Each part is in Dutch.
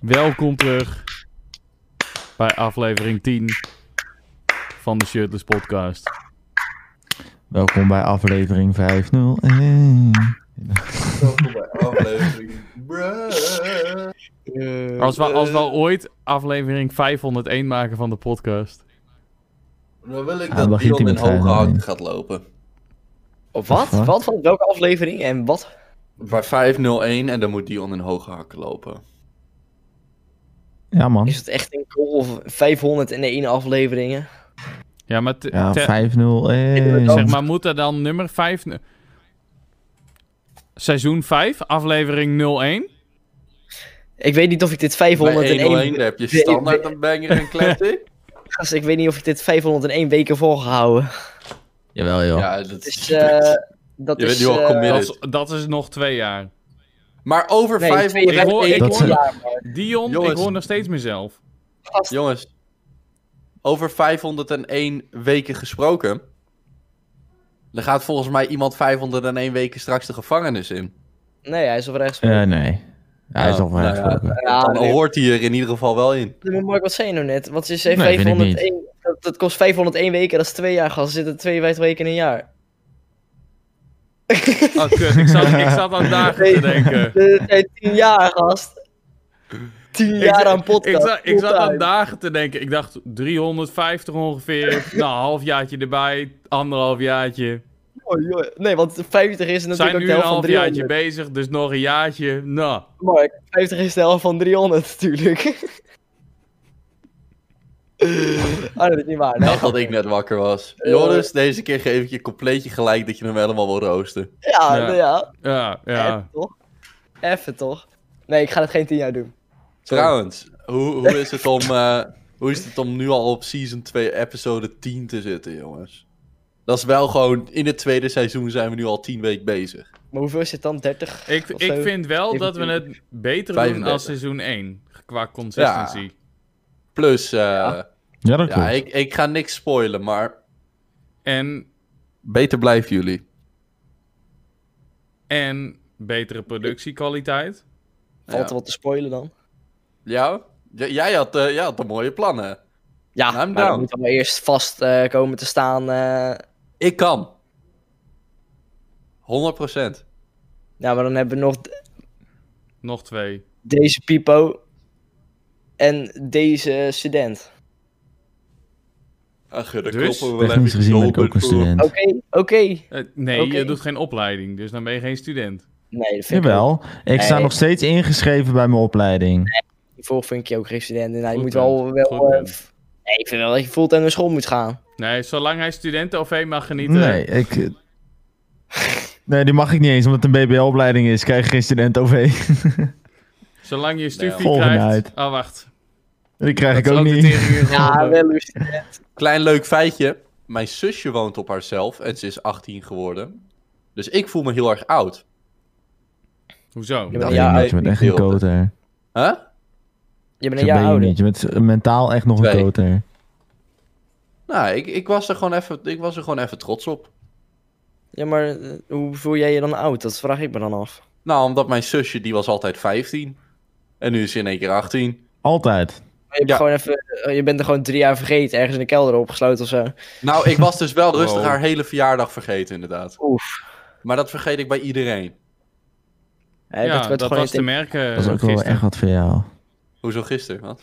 Welkom terug bij aflevering 10 van de Shirtless Podcast. Welkom bij aflevering 501. Welkom bij aflevering. Bruh. Als we, als we ooit aflevering 501 maken van de podcast. Dan wil ik Ah, dat dan giet hij Dion in met vijf hoge hakken heen. gaat lopen. Wat? Wat? Wat? Van welke aflevering en wat? Bij 501 en dan moet Dion in hoge hakken lopen. Ja, man. Is het echt een goal of 501 afleveringen? Ja, maar, te- Ja, te- 501. zeg maar moet er dan nummer 5... Seizoen 5, aflevering 01. Ik weet niet of ik dit Bij 501... 101 daar heb je Nee, standaard een banger en classic. Gast, ik weet niet of ik dit 501 weken volgehouden. Jawel, joh. Ja, dat Dus is... eh dat Je bent is... nu al eh, committed. Dat is, dat is nog twee jaar. Maar over Nee, 501... Ik hoor- ik Dat eh, hoor- zijn- Dion, ik Jongens. hoor nog steeds mezelf. gast, Jongens, over 501 weken gesproken. Er gaat volgens mij iemand 501 weken straks de gevangenis in. Nee, hij is oprecht. Eh, nee. Hij Oh, is al nou ja, vrijgesproken. ja, Dan nee. hoort hij er in ieder geval wel in. Maar Mark, wat zei je nou net? Wat is eh, Nee, vind ik 501... Dat, dat kost 501 weken, dat is twee jaar, gast. Er zitten 52 weken in een jaar. Oh, kut. Ik zat, ik zat aan dagen te denken. Eh, nee, 10 jaar, gast. 10 Ik jaar zat- aan podcast. Ik zat, ik zat fulltime. aan dagen te denken. Ik dacht 350 ongeveer. nou, halfjaartje erbij. Anderhalf jaartje. Oh, joh. Nee, want 50 is natuurlijk Zijn ook nu de een helft van half 300. jaartje bezig, dus nog een jaartje. Nou, Mark, 50 is de helft van 300 natuurlijk. ah, dat is niet waar. Ik Nee. dacht dat ik net wakker was. Joris, deze keer geef ik je compleetje gelijk dat je hem helemaal wil roosten. Ja, Ja. ja. ja. ja, ja. Even toch? Even toch? Nee, ik ga het geen 10 jaar doen. Trouwens, hoe, hoe, is het om, eh, hoe is het om nu al op season 2 episode 10 te zitten, jongens? Dat is wel gewoon, in het tweede seizoen zijn we nu al 10 weken bezig. Maar hoeveel is het dan? 30? Ik, Of ik zo. vind wel dat we het beter doen 35. als seizoen 1. Qua consistency. Plus, eh, Ja, dat ja, klopt. ik, ik ga niks spoilen, maar En, beter blijven jullie. en betere productiekwaliteit. Valt Ja. er wat te spoilen dan? Ja? J- jij, had, eh, jij had de mooie plannen. Ja, I'm maar down. dan moet wel eerst vast eh, komen te staan. eh. Ik kan. 100%. Ja, maar dan hebben we nog d- Nog twee. deze Pipo en deze student. Ach, de Dus? koppen wel Technisch even gezien ben ik doper ook een toe. student. Oké, oké. Eh, nee, Oké. je doet geen opleiding, dus dan ben je geen student. Nee, dat vind ik ook Jawel. Ik sta Nee. nog steeds ingeschreven bij mijn opleiding. Hiervoor vind ik je ook geen student. En hij Goed moet punt, wel... goed wel eh, punt. f- nee, ik vind wel dat je fulltime naar school moet gaan. Nee, zolang hij studenten-OV mag genieten. Nee, ik... Nee, die mag ik niet eens, omdat het een BBL-opleiding is. Krijg ik geen student-OV. Zolang je studie Volgende krijgt... uit. Oh, wacht. Die krijg ik Dat ook is de niet. tering in Ja, geholpen. wel een student. Klein leuk feitje. Mijn zusje woont op haarzelf en ze is 18 geworden. Dus ik voel me heel erg oud. Hoezo? Ja, Dat Ja, weet je, je bent echt een uitgedeelte. koter. Huh? Je bent Zo een jaar ben je ouder. niet. Je bent mentaal echt nog een Twee. koter. Nou, ik, ik, was er gewoon even, ik was er gewoon even trots op. Ja, maar eh, hoe voel jij je dan oud? Dat vraag ik me dan af. Nou, omdat mijn zusje, die was altijd 15. En nu is ze in één keer 18. Altijd. Maar je, hebt Ja. gewoon even, eh, je bent er gewoon drie jaar vergeten, ergens in de kelder opgesloten of zo. Eh, Nou, ik was dus wel rustig Wow. haar hele verjaardag vergeten, inderdaad. Oef. Maar dat vergeet ik bij iedereen. Ja, ja, dat dat, werd gewoon was in te de- merken Dat is ook wel gisteren. echt wat voor jou. Hoezo gisteren, wat?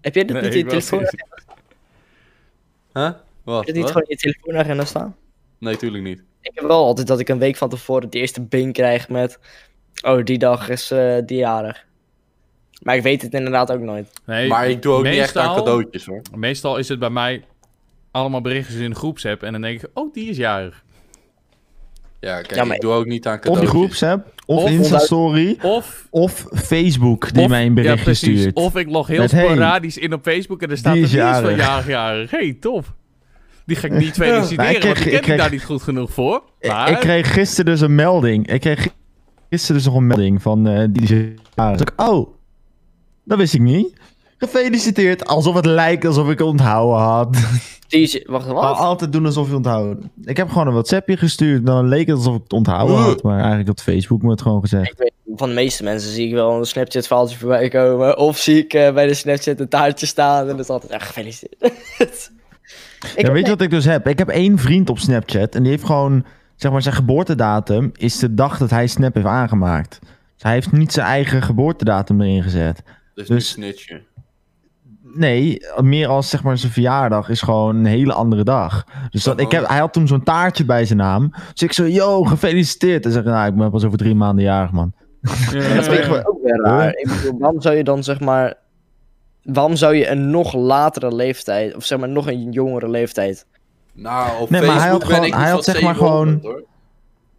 Heb jij dat Nee, niet in je ik was telefoon? Heb niet- Huh? Wat? je dat niet wat? gewoon in je telefoonagenda staan? Nee, tuurlijk niet. Ik heb wel altijd dat ik een week van tevoren de eerste bing krijg met... Oh, die dag is eh die jarig. Maar ik weet het inderdaad ook nooit. Nee, maar ik doe ook niet echt aan meestal- cadeautjes, hoor. Meestal is het bij mij allemaal berichtjes in groepsapp en dan denk ik, oh, die is jarig. Ja, kijk, Ja, maar- ik doe ook niet aan Of cadeautjes. groepsapp, of Of- Insta-story, Of... of Facebook die of- mij een ja, berichtje precies. stuurt. Of ik log heel Met, hey, sporadisch in op Facebook en er staat die een is dienst van jarig. jarig, jarig. hey, top. Die ga ik niet feliciteren, Maar ik want kreeg- ik ken ik kreeg- daar niet goed genoeg voor. Ik- Maar Ik kreeg gisteren dus een melding. Ik kreeg gisteren dus nog een melding van eh die is jarig. Dus ik, oh, dat wist ik niet. Ik Gefeliciteerd. Alsof het lijkt alsof ik onthouden had. DJ, wacht, Maar wat? altijd doen alsof je onthouden. Ik heb gewoon een WhatsAppje gestuurd. Dan leek het alsof ik het onthouden had. Maar eigenlijk had Facebook me het gewoon gezegd. Ik weet, van de meeste mensen zie ik wel een Snapchat verhaaltje voorbij komen. Of zie ik eh, bij de Snapchat een taartje staan. En dat is altijd, ja, gefeliciteerd. ik ja, heb- weet je wat ik dus heb? Ik heb één vriend op Snapchat en die heeft gewoon, zeg maar, zijn geboortedatum is de dag dat hij Snap heeft aangemaakt. Dus hij heeft niet zijn eigen geboortedatum erin gezet. Dus, Dus- dus... snitchen. Nee, meer als zeg maar zijn verjaardag is gewoon een hele andere dag. Dus dat, ik Oh. heb, hij had toen zo'n taartje bij zijn naam. Dus ik zo, yo, gefeliciteerd. En zeg, nou, ik ben pas over drie maanden jarig, man. Ja, Dat ja, vind ik ja. gewoon ook weer raar. Ik bedoel, waarom zou je dan zeg maar. Waarom zou je een nog latere leeftijd, of zeg maar nog een jongere leeftijd. Nou, op Nee, maar Facebook hij had ben gewoon- ik hij nog had wel zeg maar 700, hoor.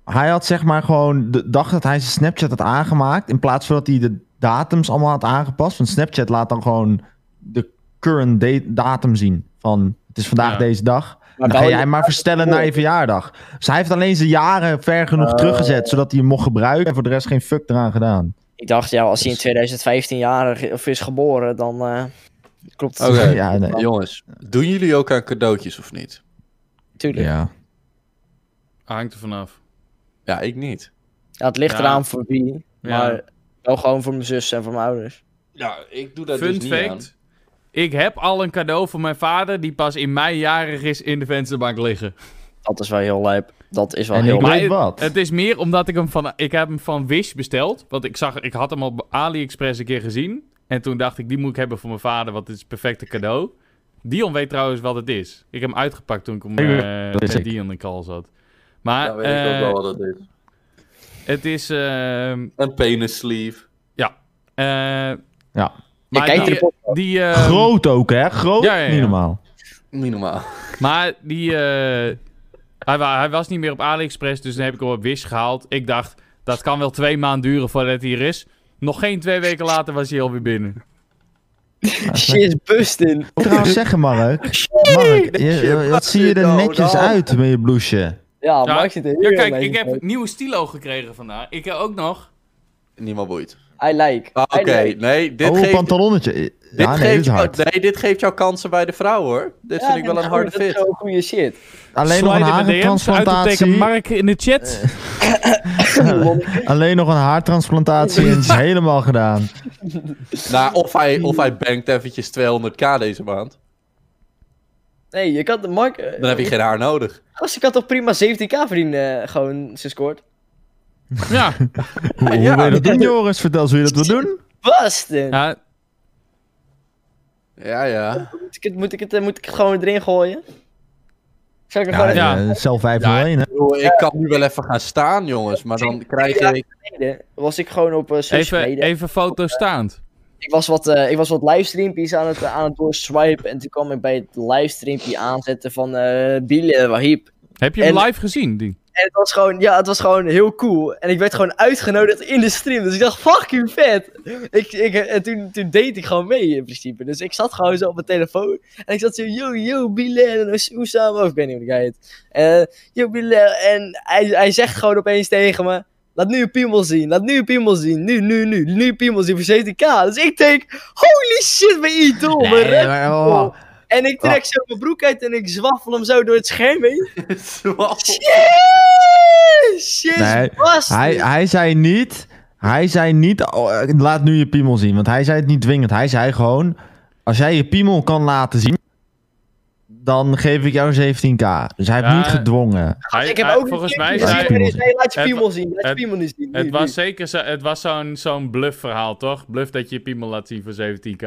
Hij had zeg maar gewoon de dag dat hij zijn Snapchat had aangemaakt. In plaats van dat hij de datums allemaal had aangepast. Want Snapchat laat dan gewoon de current date- datum zien. Van het is vandaag Ja. deze dag. Nou Maar Dan ga wel- je hem maar verstellen naar je verjaardag. Dus hij heeft alleen zijn jaren ver genoeg teruggezet. Zodat hij hem mocht gebruiken. En voor de rest geen fuck eraan gedaan. Ik dacht, ja, als hij in 2015 jarig of is geboren, dan eh, klopt het Oké. Nee. Ja, nee. Jongens, doen jullie ook aan cadeautjes of niet? natuurlijk. Ja. Ja. Hangt er vanaf. Ja, ik niet. het ligt Ja. eraan voor wie. Ja. Maar wel gewoon voor mijn zus en voor mijn ouders. Ja, ik doe dat Fun dus niet fact. aan. Ik heb al een cadeau van mijn vader die pas in mei jarig is in de vensterbank liggen. Dat is wel heel lijp. Dat is wel En heel ik lijp. Maar weet wat. Het is meer omdat ik hem van, ik heb hem van Wish besteld. Want ik, zag, ik had hem op AliExpress een keer gezien. En toen dacht ik, die moet ik hebben voor mijn vader, want dit is het perfecte cadeau. Dion weet trouwens wat het is. Ik heb hem uitgepakt toen ik hem, Ik weet- eh, dat is met ik. Dion in call zat. Maar Ja, weet ik ook eh, wel wat dat is. het is... ehm, Een penis sleeve. eh, Ja. Je maar kijkt die, er op. die, ehm, Groot ook, hè? Groot? Ja, ja, ja. Niet normaal. Niet normaal. Maar die. eh, hij, wa- hij was niet meer op AliExpress, dus dan heb ik hem op Wish gehaald. Ik dacht, dat kan wel twee maanden duren voordat hij er is. Nog geen twee weken later was hij alweer binnen. She is busting. Ik wil trouwens zeggen, Mark. Mark, je- shit, wat zie je er nou, netjes nou. uit met je blouseje? Ja, Ja, Mark zit er heel Ja, kijk, mee. ik heb een nieuwe stilo gekregen vandaag. Ik heb ook nog. Niemand boeit. I like. Ah, Oké, I like. nee, dit Oh, geeft... pantalonnetje. Dit, ja, nee, dit geeft is hard. jou, nee, dit geeft jouw kansen bij de vrouw, hoor. Dit Ja, vind ik wel dat een is harde goed, dat is fit. wel goede shit. Alleen nog een haartransplantatie. Mark in de chat. Alleen nog een haartransplantatie en het is helemaal gedaan. Nou, of hij, of hij bankt eventjes 200k deze maand. Nee, je kan de Mark. eh, Dan heb je geen haar nodig. Gast, je kan toch prima 17k verdienen, eh, gewoon, ze scoort. Ja. Hoe, hoe Ja. wil je dat doen, Joris? Vertel eens hoe je dat wil doen. Basten! ja. Ja, ja. Moet, ik het, moet, ik het, eh, moet ik het gewoon erin gooien? Zal ik er Ja, gewoon Ja. ja. zelf 5 Ja. hè? Ik bedoel, Ik kan nu wel even gaan staan, jongens. Maar dan krijg ik... even deden? Was ik gewoon op eh, social Even, media. even foto staand. Ik was wat, eh, ik was wat livestreampjes aan het, eh, aan het doorswipen. En toen kwam ik bij het livestreampje aanzetten van eh Biele Wahib. Heb je hem En- live gezien? Die? En het was, gewoon, ja, het was gewoon heel cool. En ik werd gewoon uitgenodigd in de stream. Dus ik dacht, fucking vet. Ik, ik, en toen, toen deed ik gewoon mee in principe. Dus ik zat gewoon zo op mijn telefoon. En ik zat zo, yo, yo, Bilal en Oesama. Of ik weet niet hoe die guy heet. Eh, yo, Bilal. En hij, hij zegt gewoon opeens tegen me. Laat nu een piemel zien. Laat nu een piemel zien. Nu, nu, nu. Nu een piemel zien voor 17k. Dus ik denk, holy shit, mijn idool. mijn Nee, rep. maar- oh, oh. En ik trek zo mijn broek uit en ik zwaffel hem zo door het scherm heen. Jezus, Nee, Hij, hij zei niet... Hij zei niet... oh, eh, laat nu je piemel zien. Want hij zei het niet dwingend. Hij zei gewoon... Als jij je piemel kan laten zien... Dan geef ik jou 17k. Dus hij heeft Ja. niet gedwongen. Hij- ik heb hij- ook volgens een mij keertje zei- gezien waarin- Nee, laat je Het- piemel zien. Laat je het- piemel nu zien. Het nu, was nu. zeker zo, het was zo'n zo'n bluff verhaal, toch? Bluff dat je je piemel laat zien voor 17k.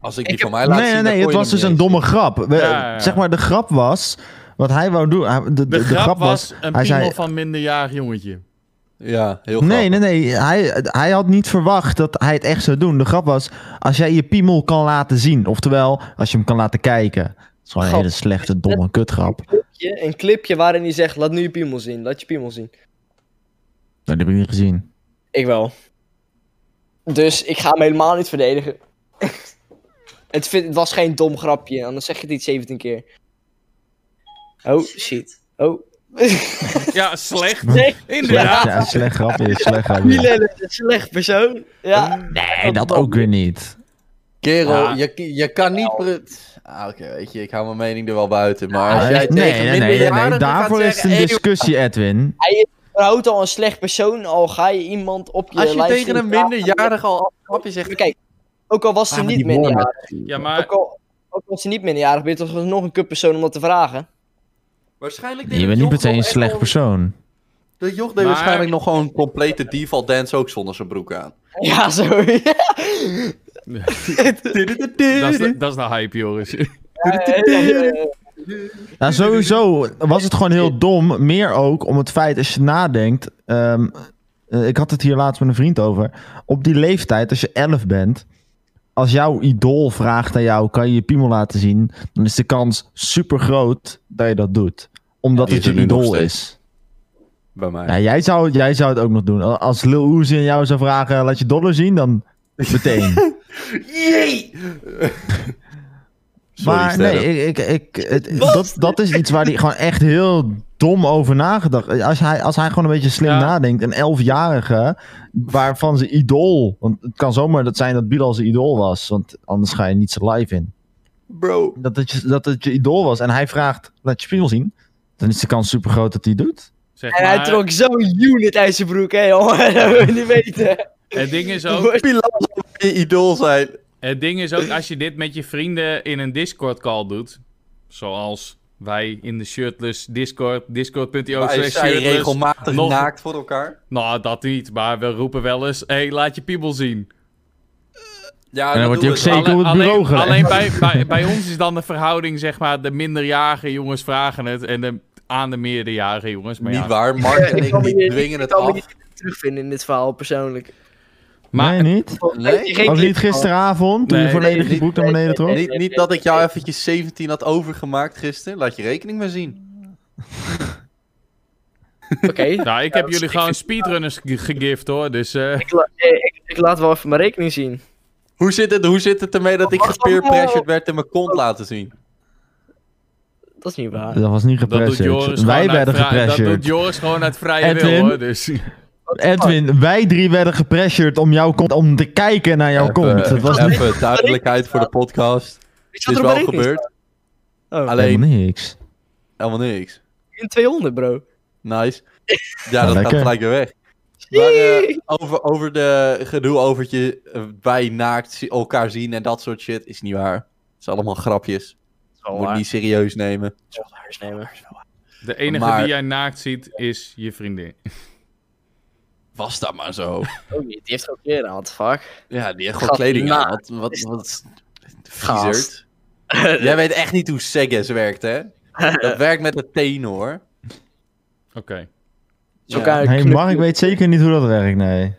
Als ik Ik die van mij heb- laat Nee, nee, zien, nee. Het was dus een domme grap. We- Ja, ja, ja. Zeg maar, de grap was... Wat hij wou doen... hij- De, de, De, grap, was een hij piemel zei- van minderjarig jongetje. Ja, heel Nee, grappig. nee, nee. Hij, hij had niet verwacht dat hij het echt zou doen. De grap was, als jij je piemel kan laten zien. Oftewel, als je hem kan laten kijken. Dat is gewoon een Grap. hele slechte, domme kutgrap. Je- Een clipje waarin hij zegt, laat nu je piemel zien. Laat je piemel zien. Dat heb ik niet gezien. Ik wel. Dus ik ga hem helemaal niet verdedigen. het, vind- het was geen dom grapje. Anders zeg je het niet 17 keer. Oh, shit. Oh. Ja, slecht. Nee, Inderdaad. Ja, slecht grapje, slecht grapje. Milan is een slecht persoon. Ja. Nee, dat ook weer niet. Kerel, Ja. je, je kan niet... pre- Ah, oké, weet je, ik hou mijn mening er wel buiten. Maar als Nee, jij nee, tegen nee, nee, nee, minderjarigen gaat Daarvoor is het zeggen, een "Hey, discussie, Edwin. Houdt al een slecht persoon, al ga je iemand op je Als je livestream tegen een vragen- minderjarige al afkapje zegt... Kijk, ook al Ah, was ze niet minderjarig. Ja, Ja, maar Ook al, ook al was ze niet minderjarig, ben je toch nog een kutpersoon om dat te vragen? waarschijnlijk Je bent niet per se een slecht persoon. De joch deed Maar- waarschijnlijk nog gewoon een complete default dance ook zonder zijn broek aan. Ja, sorry. dat is, dat is nou hype, Joris. Nou, sowieso was het gewoon heel dom. Meer ook om het feit, als je nadenkt... ehm, eh, ik had het hier laatst met een vriend over. Op die leeftijd, als je 11 bent... Als jouw idool vraagt aan jou, kan je je piemel laten zien... dan is de kans super groot dat je dat doet. Omdat Die het is er je nu nog idool steeds. is. Bij mij. Ja, jij, zou, jij zou het ook nog doen. Als Lil Uzi aan jou zou vragen, laat je dollar zien, dan meteen. Jee! Sorry, maar Sterre. nee, ik, ik, ik, het- dat, dat is iets waar hij gewoon echt heel dom over nagedacht. Als hij, als hij gewoon een beetje slim Ja. nadenkt, een elfjarige, waarvan zijn idool. Want het kan zomaar dat zijn dat Bilal zijn idool was, want anders ga je niet zijn live in. Bro. Dat het, je- dat het je idool was en hij vraagt, laat je spiegel zien. Dan is de kans super groot dat hij het doet. Zeg En hij maar, trok zo'n unit uit zijn broek, hè, jongen. Dat wil je niet weten. Het ding is ook, Pilaar je idool zijn. Het ding is ook, als je dit met je vrienden in een Discord-call doet, zoals wij in de shirtless Discord, discord.io Wij slash zijn shirtless. regelmatig nog- naakt voor elkaar. Nou, dat niet, maar we roepen wel eens, hé, hey, laat je piebel zien. Ja, En dan wordt hij ook zeker op het alleen, bureau gelegd. alleen bij, bij, bij ons is dan de verhouding, zeg maar, de minderjarige jongens vragen het en de, aan de meerderjarige jongens. Maar, Niet ja. waar, Mark en Ik kan ik me die hier- dwingen Ik het kan me af. niet terugvinden in dit verhaal, persoonlijk. maar nee, niet? Nee? Geen Ook niet clip- gisteravond, toen Nee, je volledig nee, je broek naar beneden trok? Niet, niet dat ik jou eventjes 17 had overgemaakt gisteren. Laat je rekening maar zien. Oké. nou, ik heb Ja, jullie ik gewoon vind- speedrunners ge- gegift, hoor. Dus eh, Ik, la- eh, ik, ik laat wel even mijn rekening zien. Hoe zit het, hoe zit het ermee dat ik Wacht, wacht, gepeerpressured werd en mijn kont laten zien? Dat is niet waar. Dat was niet dat doet gepressured. Joris Wij gewoon uit werden vrij- Dat gepressured. doet Joris gewoon uit vrije wil, Edwin? hoor. Dus. Edwin, wij drie werden gepressured om, jouw kont, om te kijken naar jouw kont. Het was even, niet even duidelijkheid voor de podcast. Weet je Het wat is er op mijn wel rekening staat? gebeurd, Oh, alleen helemaal niks. helemaal niks. in 200, bro. Nice. Ja, dat gaat lekker. gelijk weer weg. Maar, eh, Jee. over, over de gedoe over het je eh, bij naakt zi- elkaar zien en dat soort shit is niet waar. Het is allemaal grapjes. Moet niet serieus nemen. De enige Maar- die jij naakt ziet, is je vriendin. Was dat maar zo. Ook niet. Die heeft ook weer aan, what the fuck. Ja, die heeft Gast, gewoon kleding naakt aan. Wat, wat, wat Gast. viezerd. Jij weet echt niet hoe Segges werkt, hè? Dat werkt met de tenen, hoor. Oké. Zo Ja. kan ik Hey, knuffelen. Mark weet zeker niet hoe dat werkt, nee.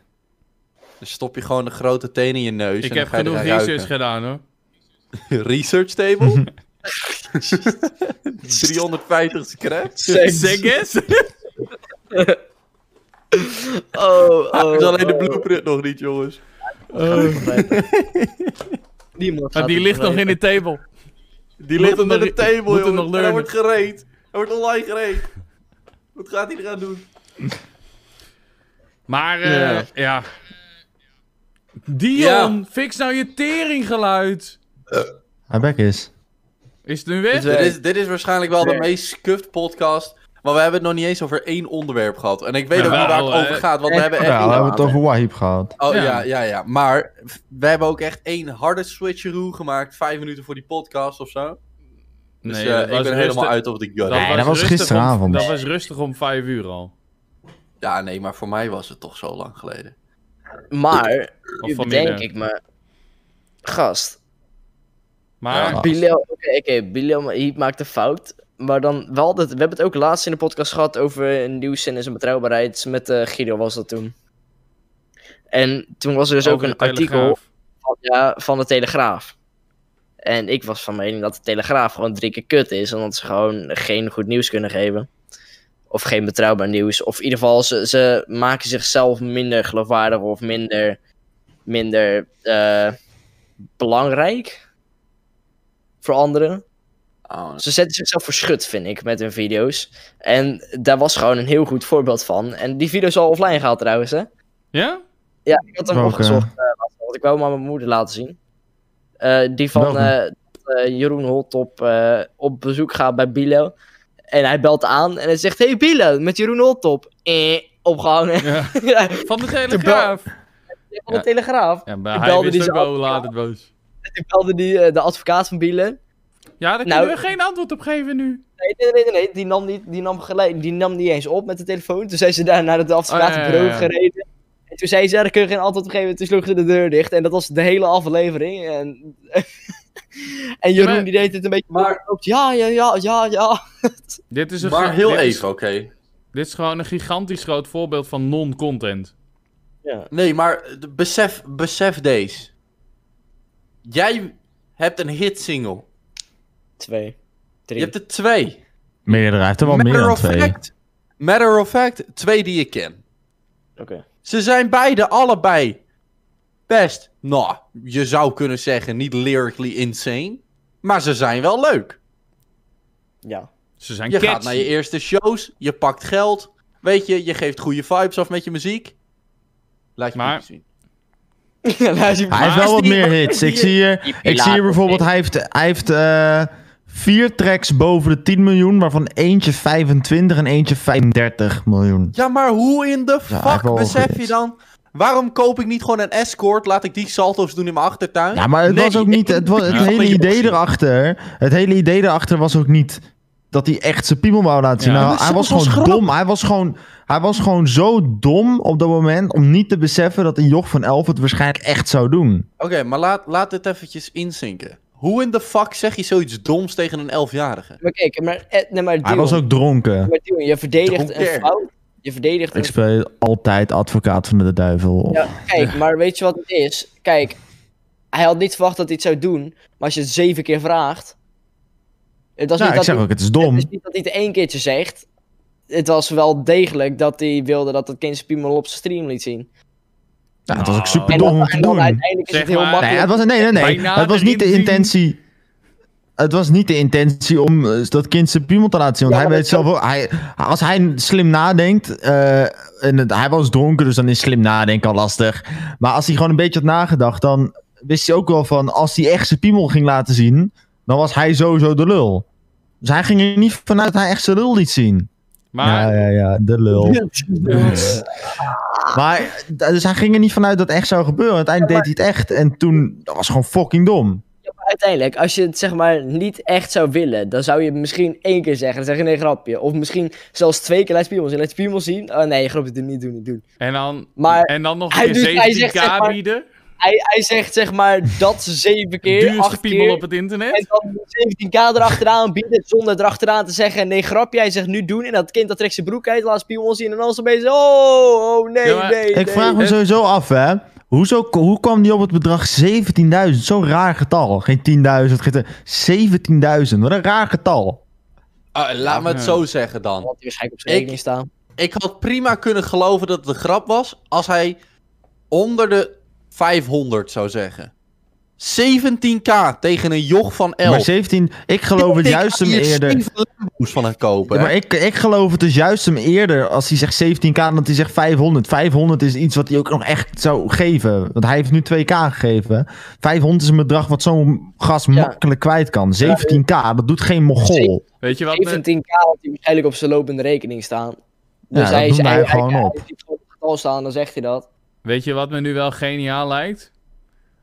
Dan stop je gewoon de grote teen in je neus Ik en dan heb ga je genoeg eraan research ruiken. gedaan hoor. Research table? 350 scraps? Zeg eens. Oh, oh. Dat is alleen de oh. blueprint nog niet, jongens. Niemand Maar gaat Ah, die het ligt nog in weten. de table. Die Moet ligt hem onder nog- de table, moet hem jongens. nog En leunen. hij wordt gereed. Hij wordt online gereed. Wat gaat hij eraan doen? Maar eh, Ja. ja. Dion, fix nou je teringgeluid. Haar bek is. Is het nu weg? Dus, eh, Dit is, dit is waarschijnlijk wel de meest scuffed podcast. Maar we hebben het nog niet eens over één onderwerp gehad. En ik weet ook niet waar Jawel, het over hè. gaat, want we hebben echt... Ja, we niet- hebben het over Wahib gehad. Oh Ja. ja. ja, ja, Maar f- we hebben ook echt één harde switcheroo gemaakt. Vijf minuten voor die podcast of zo. Dus Nee, eh, dat ik ben was rustig- helemaal uit over de gun. Nee, dat was rustig om- gisteravond. dat was rustig om vijf uur al. Ja, nee, maar voor mij was het toch zo lang geleden. Maar, Of nu vanmiddag. bedenk ik me. Gast. Maar Ja. Bilal, oké, oké, Bilal Heat maakt een fout. Maar dan wel dat. We hebben het ook laatst in de podcast gehad over nieuws en zijn betrouwbaarheid. Met eh, Guido was dat toen. En toen was er dus ook over een de artikel Telegraaf. van, ja, van de Telegraaf. En ik was van mening dat de Telegraaf gewoon drie keer kut is. Omdat ze gewoon geen goed nieuws kunnen geven. Of geen betrouwbaar nieuws. Of in ieder geval, ze, ze maken zichzelf minder geloofwaardig of minder, minder eh, belangrijk voor anderen. Oh, Ze zetten zichzelf voor schut, vind ik, met hun video's. En daar was gewoon een heel goed voorbeeld van. En die video is al offline gehaald trouwens, hè? Ja? Ja, ik had hem Welke? opgezocht. eh, laatst, want ik wou hem aan mijn moeder laten zien. Eh, die van Welkom. eh, dat, eh, Jeroen Holt op, eh, op bezoek gaat bij Bilo. En hij belt aan en hij zegt: Hey Bilo, met Jeroen Holt op. Eh, opgehangen. Ja. Ja, Van de Telegraaf. van Ja. de Telegraaf. Ja, maar hij belde die wist ook zo wel hoe af. laat het was. En toen belde die, eh, de advocaat van Bilo. Ja, daar Nou- kunnen we geen antwoord op geven nu. Nee, nee, nee, nee, nee. Die, nam niet, die, nam gelijk, die nam niet eens op met de telefoon. Toen zijn ze daar naar het advocatenbureau Oh, ja, ja, ja. gereden. En toen zei ze, ja, daar kun je geen antwoord op geven. Toen sloeg ze de deur dicht. En dat was de hele aflevering. En, en Jeroen Maar- die deed het een beetje... Maar- op. Ja, ja, ja, ja, ja. Dit is een Maar ge- heel dit is- even, oké. dit is gewoon een gigantisch groot voorbeeld van non-content. Nee, maar eh, de- besef, besef deze. Jij hebt een hitsingle. Twee. Drie. Je hebt er twee. Meerdere, hij heeft er wel meer dan of twee. fact. Matter of fact, twee die ik ken. Oké. Ze zijn beide allebei best, nou, je zou kunnen zeggen niet lyrically insane, maar ze zijn wel leuk. Ja. Ze zijn Je gaat catchy. naar je eerste shows, je pakt geld, weet je, je geeft goede vibes af met je muziek. Laat je Maar- maar... zien. Luister, Hij heeft wel wat die- meer hits. Ik zie hier, ik zie hier bijvoorbeeld, hij heeft, hij heeft eh, vier tracks boven de 10 miljoen, waarvan eentje 25 en eentje 35 miljoen. Ja, maar hoe in de hij heeft fuck wel besef goed je iets. dan? Waarom koop ik niet gewoon een escort? Laat ik die salto's doen in mijn achtertuin? Ja, maar het Nee, was ook niet. Het, was, het Ja. hele Ja. idee erachter. Het hele idee erachter was ook niet dat hij echt zijn piemel wou laten zien. Ja. Nou, Maar hij was soms gewoon was grap. dom. Hij was gewoon, hij was gewoon zo dom op dat moment om niet te beseffen dat een joch van 11 het waarschijnlijk echt zou doen. Oké, maar laat, laat dit eventjes inzinken. Hoe in de fuck zeg je zoiets doms tegen een elfjarige? Maar kijk, maar, eh, nee, maar Hij Dion, was ook dronken. maar Dion, je verdedigt een Dronken. fout. Je verdedigt Ik een speel altijd advocaat van de duivel. Ja, kijk, maar weet je wat het is? Kijk, hij had niet verwacht dat hij het zou doen. Maar als je het zeven keer vraagt... Het was nou, niet ik dat zeg hij, ook, het is het dom. is niet dat hij het één keertje zegt. Het was wel degelijk dat hij wilde dat het kind zijn piemel op zijn stream liet zien. Ja, het was ook En super En dom dan, om en te dan doen. uiteindelijk is Zeg het heel maar- Nee, makkelijk. het was, nee, nee, nee. Bijna Het was niet de erin zien. intentie. Het was niet de intentie om eh, dat kind zijn piemel te laten zien. Want Ja, hij maar weet dat zelf ook. Hij, als hij slim nadenkt. eh, en het- hij was dronken, dus dan is slim nadenken al lastig. Maar als hij gewoon een beetje had nagedacht. dan wist hij ook wel van. als hij echt zijn piemel ging laten zien. dan was hij sowieso de lul. Dus hij ging er niet vanuit dat hij echt zijn lul liet zien. Maar Ja, ja, ja, de lul. Maar, dus hij ging er niet vanuit dat het echt zou gebeuren. Uiteindelijk deed hij het echt. En toen, dat was gewoon fucking dom. Uiteindelijk, als je het zeg maar niet echt zou willen, dan zou je het misschien één keer zeggen. Dan zeg je nee, grapje. Of misschien zelfs twee keer laat je piemel zien. Laat je piemel zien. Oh nee, grapje, doe niet doen, niet doen. en, dan, Maar en dan nog hij een doet- hij keer zegt, 17k zeg maar, bieden. Hij, hij zegt zeg maar dat zeven keer, Duurste acht piemel keer. op het internet. En dan 17k erachteraan bieden zonder erachteraan te zeggen: nee, grapje, hij zegt nu doen. En dat kind dat trekt zijn broek uit, laat spion zien. En dan is opeens: oh, oh nee, Ja, maar- nee. Ik nee. vraag me Het- sowieso af, hè. Hoezo, hoe kwam die op het bedrag 17.000? Zo'n raar getal. Geen 10.000, geen te- 17.000. Wat een raar getal. Ah, laat me het Ja. zo zeggen Dan dan. had hij waarschijnlijk op zijn Ik- rekening staan. Ik had prima kunnen geloven dat het een grap was als hij onder de 500 zou zeggen. 17k tegen een joch van 11. Maar 17, ik geloof het juist hem eerder. Moest van het kopen. Ja, hè? maar ik, ik geloof het dus juist hem eerder als hij zegt 17k dan dat hij zegt 500. 500 is iets wat hij ook nog echt zou geven. Want hij heeft nu 2k gegeven. 500 is een bedrag wat zo'n gast makkelijk kwijt kan. 17k, dat doet geen mogol. Weet je eh, wat? me- 17k had hij waarschijnlijk op zijn lopende rekening staan. Dus dat hij, is noemde hij eigenlijk gewoon op. heeft gewoon het getal staan, dan zegt hij dat. Weet je wat me nu wel geniaal lijkt?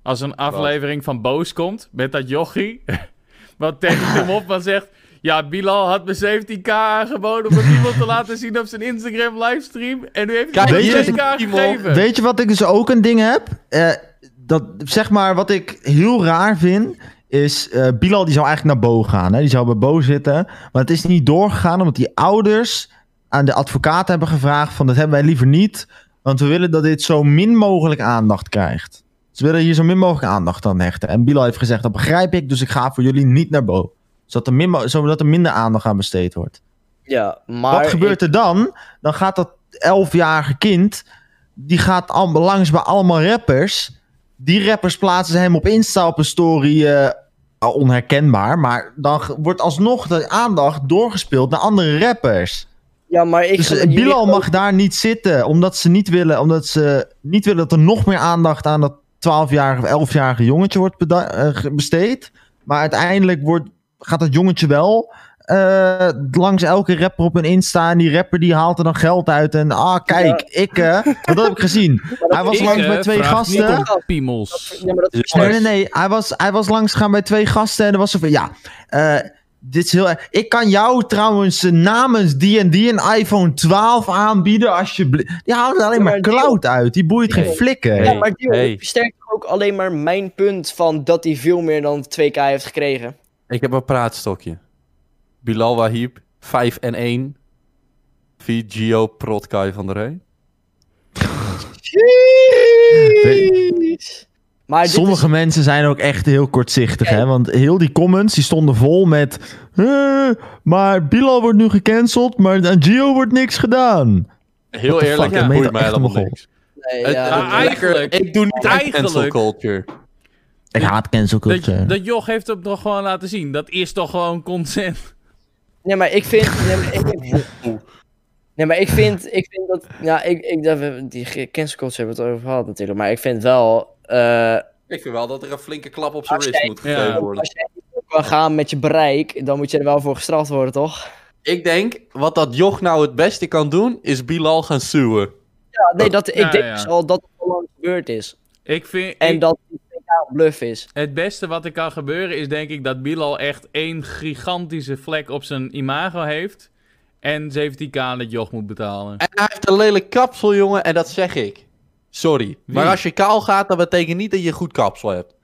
Als een aflevering van Boos komt met dat jochie. wat tegen hem op en zegt... Ja, Bilal had me 17k aangeboden om het iemand te laten zien op zijn Instagram livestream. En nu heeft hij Kijk, me weet je- 17k Timon, gegeven. Weet je wat ik dus ook een ding heb? Eh, dat, zeg maar, wat ik heel raar vind, is... eh, Bilal die zou eigenlijk naar Bo gaan. Hè? Die zou bij Bo zitten. Maar het is niet doorgegaan omdat die ouders aan de advocaat hebben gevraagd... van dat hebben wij liever niet. Want we willen dat dit zo min mogelijk aandacht krijgt. Ze willen hier zo min mogelijk aandacht aan hechten. En Bilal heeft gezegd, dat begrijp ik. Dus ik ga voor jullie niet naar Bo. Zodat er, min mo- zodat er minder aandacht aan besteed wordt. Ja, maar. Wat gebeurt er dan? Dan gaat dat 11-jarige kind, die gaat al, langs bij allemaal rappers. Die rappers plaatsen hem op Insta op een story, eh, onherkenbaar. Maar dan ge- wordt alsnog de aandacht doorgespeeld naar andere rappers. ik- ja, maar ik. Dus eh, geloof- jullie Bilal geloven- mag daar niet zitten, omdat ze niet willen, omdat ze niet willen dat er nog meer aandacht aan dat 12-jarig of 11-jarig jongetje wordt beda- eh, ge- besteed. Maar uiteindelijk wordt, gaat dat jongetje wel eh, langs elke rapper op een Insta. En die rapper die haalt er dan geld uit. En ah, kijk, ik. eh, want dat heb ik gezien. Hij was Ik, langs eh, bij twee vraag gasten. niet om Piemels. Ja, maar dat is Nee, nee, nee. Hij was, hij was langsgegaan bij twee gasten en er was zo van... Ja, eh, dit is heel erg. Ik kan jou trouwens eh, namens die en die een iPhone 12 aanbieden alsjeblieft. Die halen er alleen Ja, maar maar die- cloud uit. Die boeit geen Nee. flikker. Nee. Ja, maar die Hey. versterkt ook alleen maar mijn punt van dat hij veel meer dan 2k heeft gekregen. Ik heb een praatstokje. Bilal Wahib, 5 en 1. VGO Protkai van der Rey. Maar dit is- Sommige mensen zijn ook echt heel kortzichtig, hè? Want heel die comments die stonden vol met... "Eh, maar Bilal wordt nu gecanceld, maar aan Gio wordt niks gedaan. Heel What the eerlijk, het fuck, ja. boeit Meta mij echt helemaal mogel. niks. Nee, Het- ja, het- Maar dat- eigenlijk- ik doe niet aan cancel eigenlijk- culture. Ik haat cancel culture. Dat, dat joch heeft hem toch gewoon laten zien. Dat is toch gewoon consent. Nee, maar ik vind. Nee, maar ik, nee, maar ik vind, ik vind dat. Ja, ik, ik, dat we, die ge- cancel culture hebben we het over gehad natuurlijk. Maar ik vind wel. eh, Ik vind wel dat er een flinke klap op zijn Als wrist jij- moet gegeven Ja. als jij niet op wil gaan met je bereik, dan moet je er wel voor gestraft worden, toch? Ik denk, wat dat joch nou het beste kan doen, is Bilal gaan suwen. Ja, nee, dat, ik Ja, denk ja. dus al dat het al lang gebeurd is. Ik vind, En ik- dat die 2K bluff is. het beste wat er kan gebeuren is denk ik dat Bilal echt één gigantische vlek op zijn imago heeft. En 17k aan het joch moet betalen. En hij heeft een lelijk kapsel, jongen, en dat zeg ik. Sorry. Maar als je kaal gaat, dat betekent niet dat je goed kapsel hebt.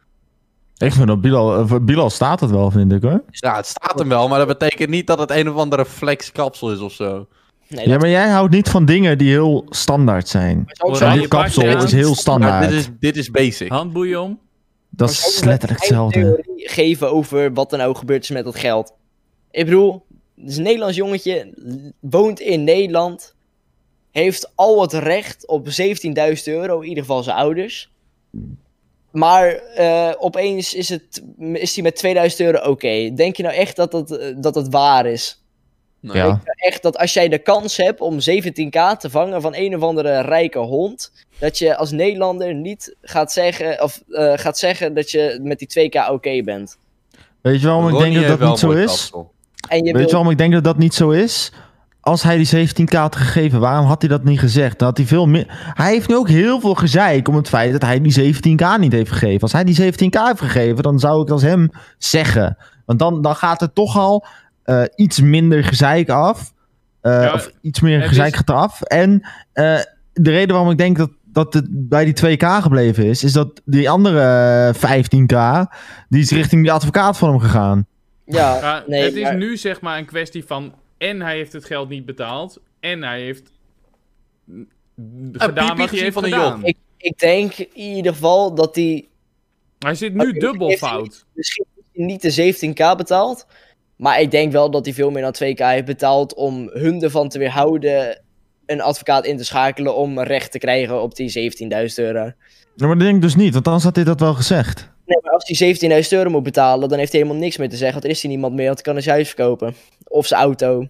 Ik vind dat Bilal... eh, voor Bilal staat het wel, vind ik, hoor. Ja, het staat hem wel, maar dat betekent niet dat het een of andere flex kapsel is of zo. Nee, Ja, maar jij houdt niet van dingen die heel standaard zijn. dat is ook zo. Ja, Zo'n je kapsel pakt- is heel Maar dit standaard. is, dit is basic. Handboeien om. Dat Maar ook is omdat letterlijk hij hetzelfde. theorie geven over wat er nou gebeurd is met dat geld. Ik bedoel, het is een Nederlands jongetje, woont in Nederland, heeft al het recht op 17.000 euro, in ieder geval zijn ouders. Maar eh, opeens is het is hij met 2000 euro oké. Denk je nou echt dat dat, eh, dat dat waar is? Nee. Ja. Echt dat als jij de kans hebt om 17k te vangen van een of andere rijke hond, dat je als Nederlander niet gaat zeggen, of, eh, gaat zeggen dat je met die 2k oké bent. Weet je waarom ik Ronnie denk heeft dat dat wel niet zo een mooi is? kapsel. En je Weet je wilt- waarom ik denk dat dat niet zo is? Als hij die 17k had gegeven, waarom had hij dat niet gezegd? Dan had hij veel meer. Hij heeft nu ook heel veel gezeik om het feit dat hij die 17k niet heeft gegeven. Als hij die 17k heeft gegeven, dan zou ik dat hem zeggen. Want dan, dan gaat er toch al eh, iets minder gezeik af. Eh, Ja, of iets meer het gezeik is- gaat eraf. En eh, de reden waarom ik denk dat, dat het bij die 2k gebleven is, is dat die andere eh, 15k, die is richting die advocaat van hem gegaan. Ja, Maar nee, het is maar- nu zeg maar een kwestie van. En hij heeft het geld niet betaald. En hij heeft. mm, gedaan piepje wat hij gezien heeft van een gedaan. joch. ik, ik denk in ieder geval dat hij Hij zit nu Oké, dubbel heeft- fout. misschien niet de 17k betaalt. Maar ik denk wel dat hij veel meer dan 2k heeft betaald om hun ervan te weerhouden een advocaat in te schakelen om recht te krijgen op die 17.000 euro. Ja, maar dat denk ik dus niet, want anders had hij dat wel gezegd. Nee, maar als hij 17.000 euro moet betalen, dan heeft hij helemaal niks meer te zeggen. Want er is hij niemand meer, want hij kan zijn huis verkopen. Of zijn auto.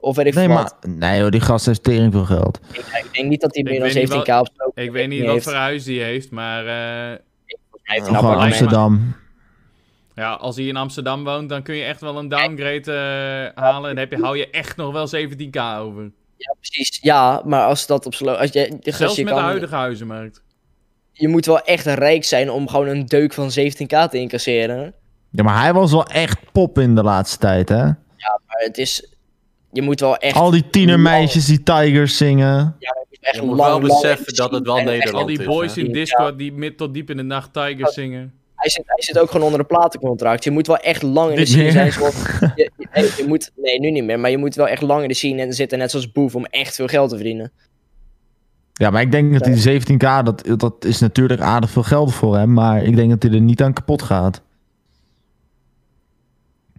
Of weet ik Nee, veel maar wat. nee, joh, die gast heeft tering veel geld. Ik, ik denk niet dat hij Ik meer weet niet dan 17k wel- op zijn Ik weet niet wat heeft. voor huis hij heeft. Maar eh, Hij heeft Nou, een Gewoon appartement. Amsterdam. Amsterdam. ja, als hij in Amsterdam woont. dan kun je echt wel een downgrade eh, halen. En dan heb je, hou je echt nog wel 17k over. Ja, precies. Ja, maar als dat op slow... Als je, Dus als Zelfs je met kan, de huidige huizenmarkt. je moet wel echt rijk zijn om gewoon een deuk van 17k te incasseren. Ja, maar hij was wel echt pop in de laatste tijd, hè? Maar het is... Je moet wel echt, Al die tienermeisjes die Tigers zingen. ja, je moet echt Je moet lang, wel lang beseffen dat het wel en echt- Al Nederland die is, boys hè? in Discord die mid tot diep in de nacht Tigers zingen. Hij zit, hij zit ook gewoon onder een platencontract. Je moet wel echt lang in de Dit scene weer. zijn. Zoals, je, je- nee, je moet, nee, nu niet meer. Maar je moet wel echt lang in de scene en zitten, net zoals Boef, om echt veel geld te verdienen. Ja, maar ik denk dat die 17k, dat, dat is natuurlijk aardig veel geld voor hem. Maar ik denk dat hij er niet aan kapot gaat.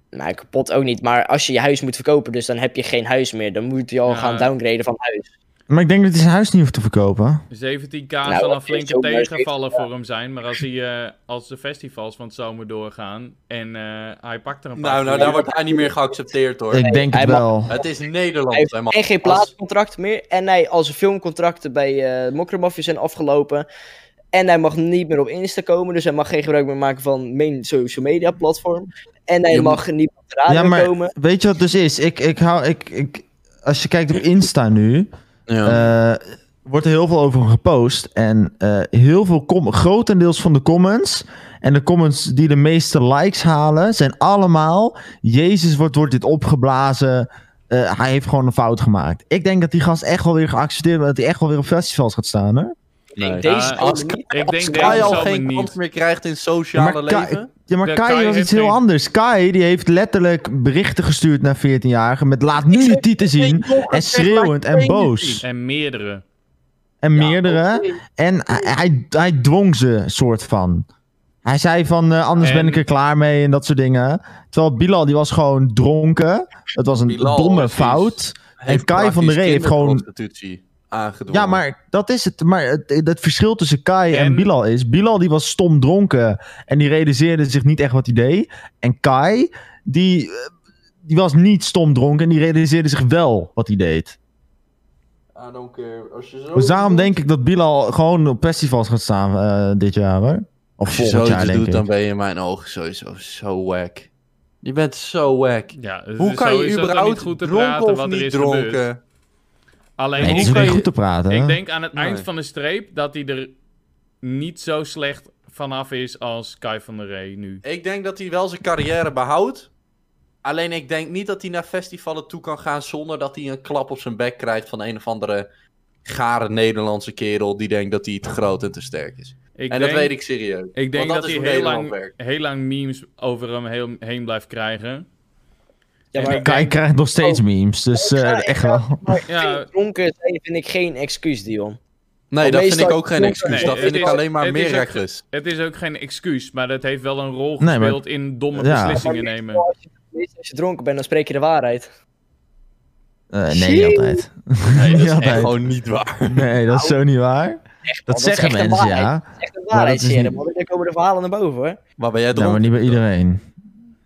Nou, kapot ook niet. Maar als je je huis moet verkopen, dus dan heb je geen huis meer. Dan moet je al Ja. gaan downgraden van huis. Maar ik denk dat hij zijn huis niet hoeft te verkopen. 17k Nou, zal een dat is flinke ook maar tegenvaller voor hem zijn. Maar als, hij, eh, als de festivals van het zomer doorgaan en eh, hij pakt er een paar... Nou, nou, voor. daar wordt hij niet meer geaccepteerd hoor. Ik denk het hij mag- wel. Het is Hij Nederland. heeft hè, man. en geen Als- plaatscontract meer. En hij, al zijn filmcontracten bij eh Mokkermafia zijn afgelopen. En hij mag niet meer op Insta komen. Dus hij mag geen gebruik meer maken van main social media platform. En hij Ja, mag niet op de radio Ja, maar komen. weet je wat het dus is? Ik, ik hou, ik, ik, als je kijkt op Insta nu, Ja. eh, wordt er heel veel over hem gepost. En eh, heel veel, com- grotendeels van de comments, en de comments die de meeste likes halen, zijn allemaal, Jezus wordt, wordt dit opgeblazen, Eh, hij heeft gewoon een fout gemaakt. Ik denk dat die gast echt wel weer geaccepteerd wordt, dat hij echt wel weer op festivals gaat staan, hoor. Nee. Deze Ja, zomer als- niet. Ik Als denk Kai deze al zomer geen niet. kans meer krijgt in sociale Ja, maar Kai- leven. Ja, maar Ja, Kai, Kai was heeft iets heel geen- anders. Kai die heeft letterlijk berichten gestuurd naar 14-jarigen met laat nu je tieten zien. En schreeuwend en boos. En meerdere. En Ja, meerdere. oké. En hij, hij, hij dwong ze, soort van. Hij zei van, eh, anders En- ben ik er klaar mee en dat soort dingen. Terwijl Bilal, die was gewoon dronken. Het was een Bilal, domme precies. fout. En Kai van der Ree heeft gewoon- aangedwongen. Ja, maar dat is het. Maar het, het verschil tussen Kai en... En- Bilal is... Bilal die was stom dronken en die realiseerde zich niet echt wat hij deed. En Kai, die, eh, die was niet stom dronken en die realiseerde zich wel wat hij deed. I don't care. Als Ah, je zo Dus daarom denk ik dat Bilal gewoon op festivals gaat staan eh, dit jaar, hoor. Of Als je volgend zoiets jaar, denk doet, ik. dan ben je in mijn ogen sowieso zo wack. Je bent zo wack. Ja, Hoe kan je überhaupt goed te dronken praten of wat er niet is gebeurd. dronken? Alleen, Nee, het hoe is kan weer je- goed te praten. hè? ik denk aan het eind Nee. van de streep dat hij er niet zo slecht vanaf is als Kai van der Rey nu. Ik denk dat hij wel zijn carrière behoudt. Alleen ik denk niet dat hij naar festivalen toe kan gaan zonder dat hij een klap op zijn bek krijgt van een of andere gare Nederlandse kerel die denkt dat hij te groot en te sterk is. Ik en denk, dat weet ik serieus. Ik denk Want dat, dat is hij hoe heel Nederland lang, werkt. heel lang memes over hem heen, heen blijft krijgen. Ja, En maar- ik Kai denk- krijgt nog steeds memes, dus Ik eh, Oh, ga- ik echt ga- wel. Maar Ja. geen dronken zijn vind ik geen excuus, Dion. Nee, Maar dat vind meestal- ik ook geen excuus. Nee, dat het vind ik is- alleen maar het is meer ook- excuus. Het is ook geen excuus, maar dat heeft wel een rol Nee, maar- gespeeld in domme Ja. beslissingen Maar nemen. Als je, als je dronken bent, dan spreek je de waarheid. Eh, nee, niet altijd. Nee, dat Niet is echt altijd. gewoon niet waar. Nee, dat is zo niet waar. man, Dat dat is zeggen Nou, echt een mensen, waarheid. ja. Dat is echt Maar een dat is waarheidsserie, niet- man. Daar komen de verhalen naar boven, hoor. Maar ben jij Ja, maar dronken? niet bij iedereen.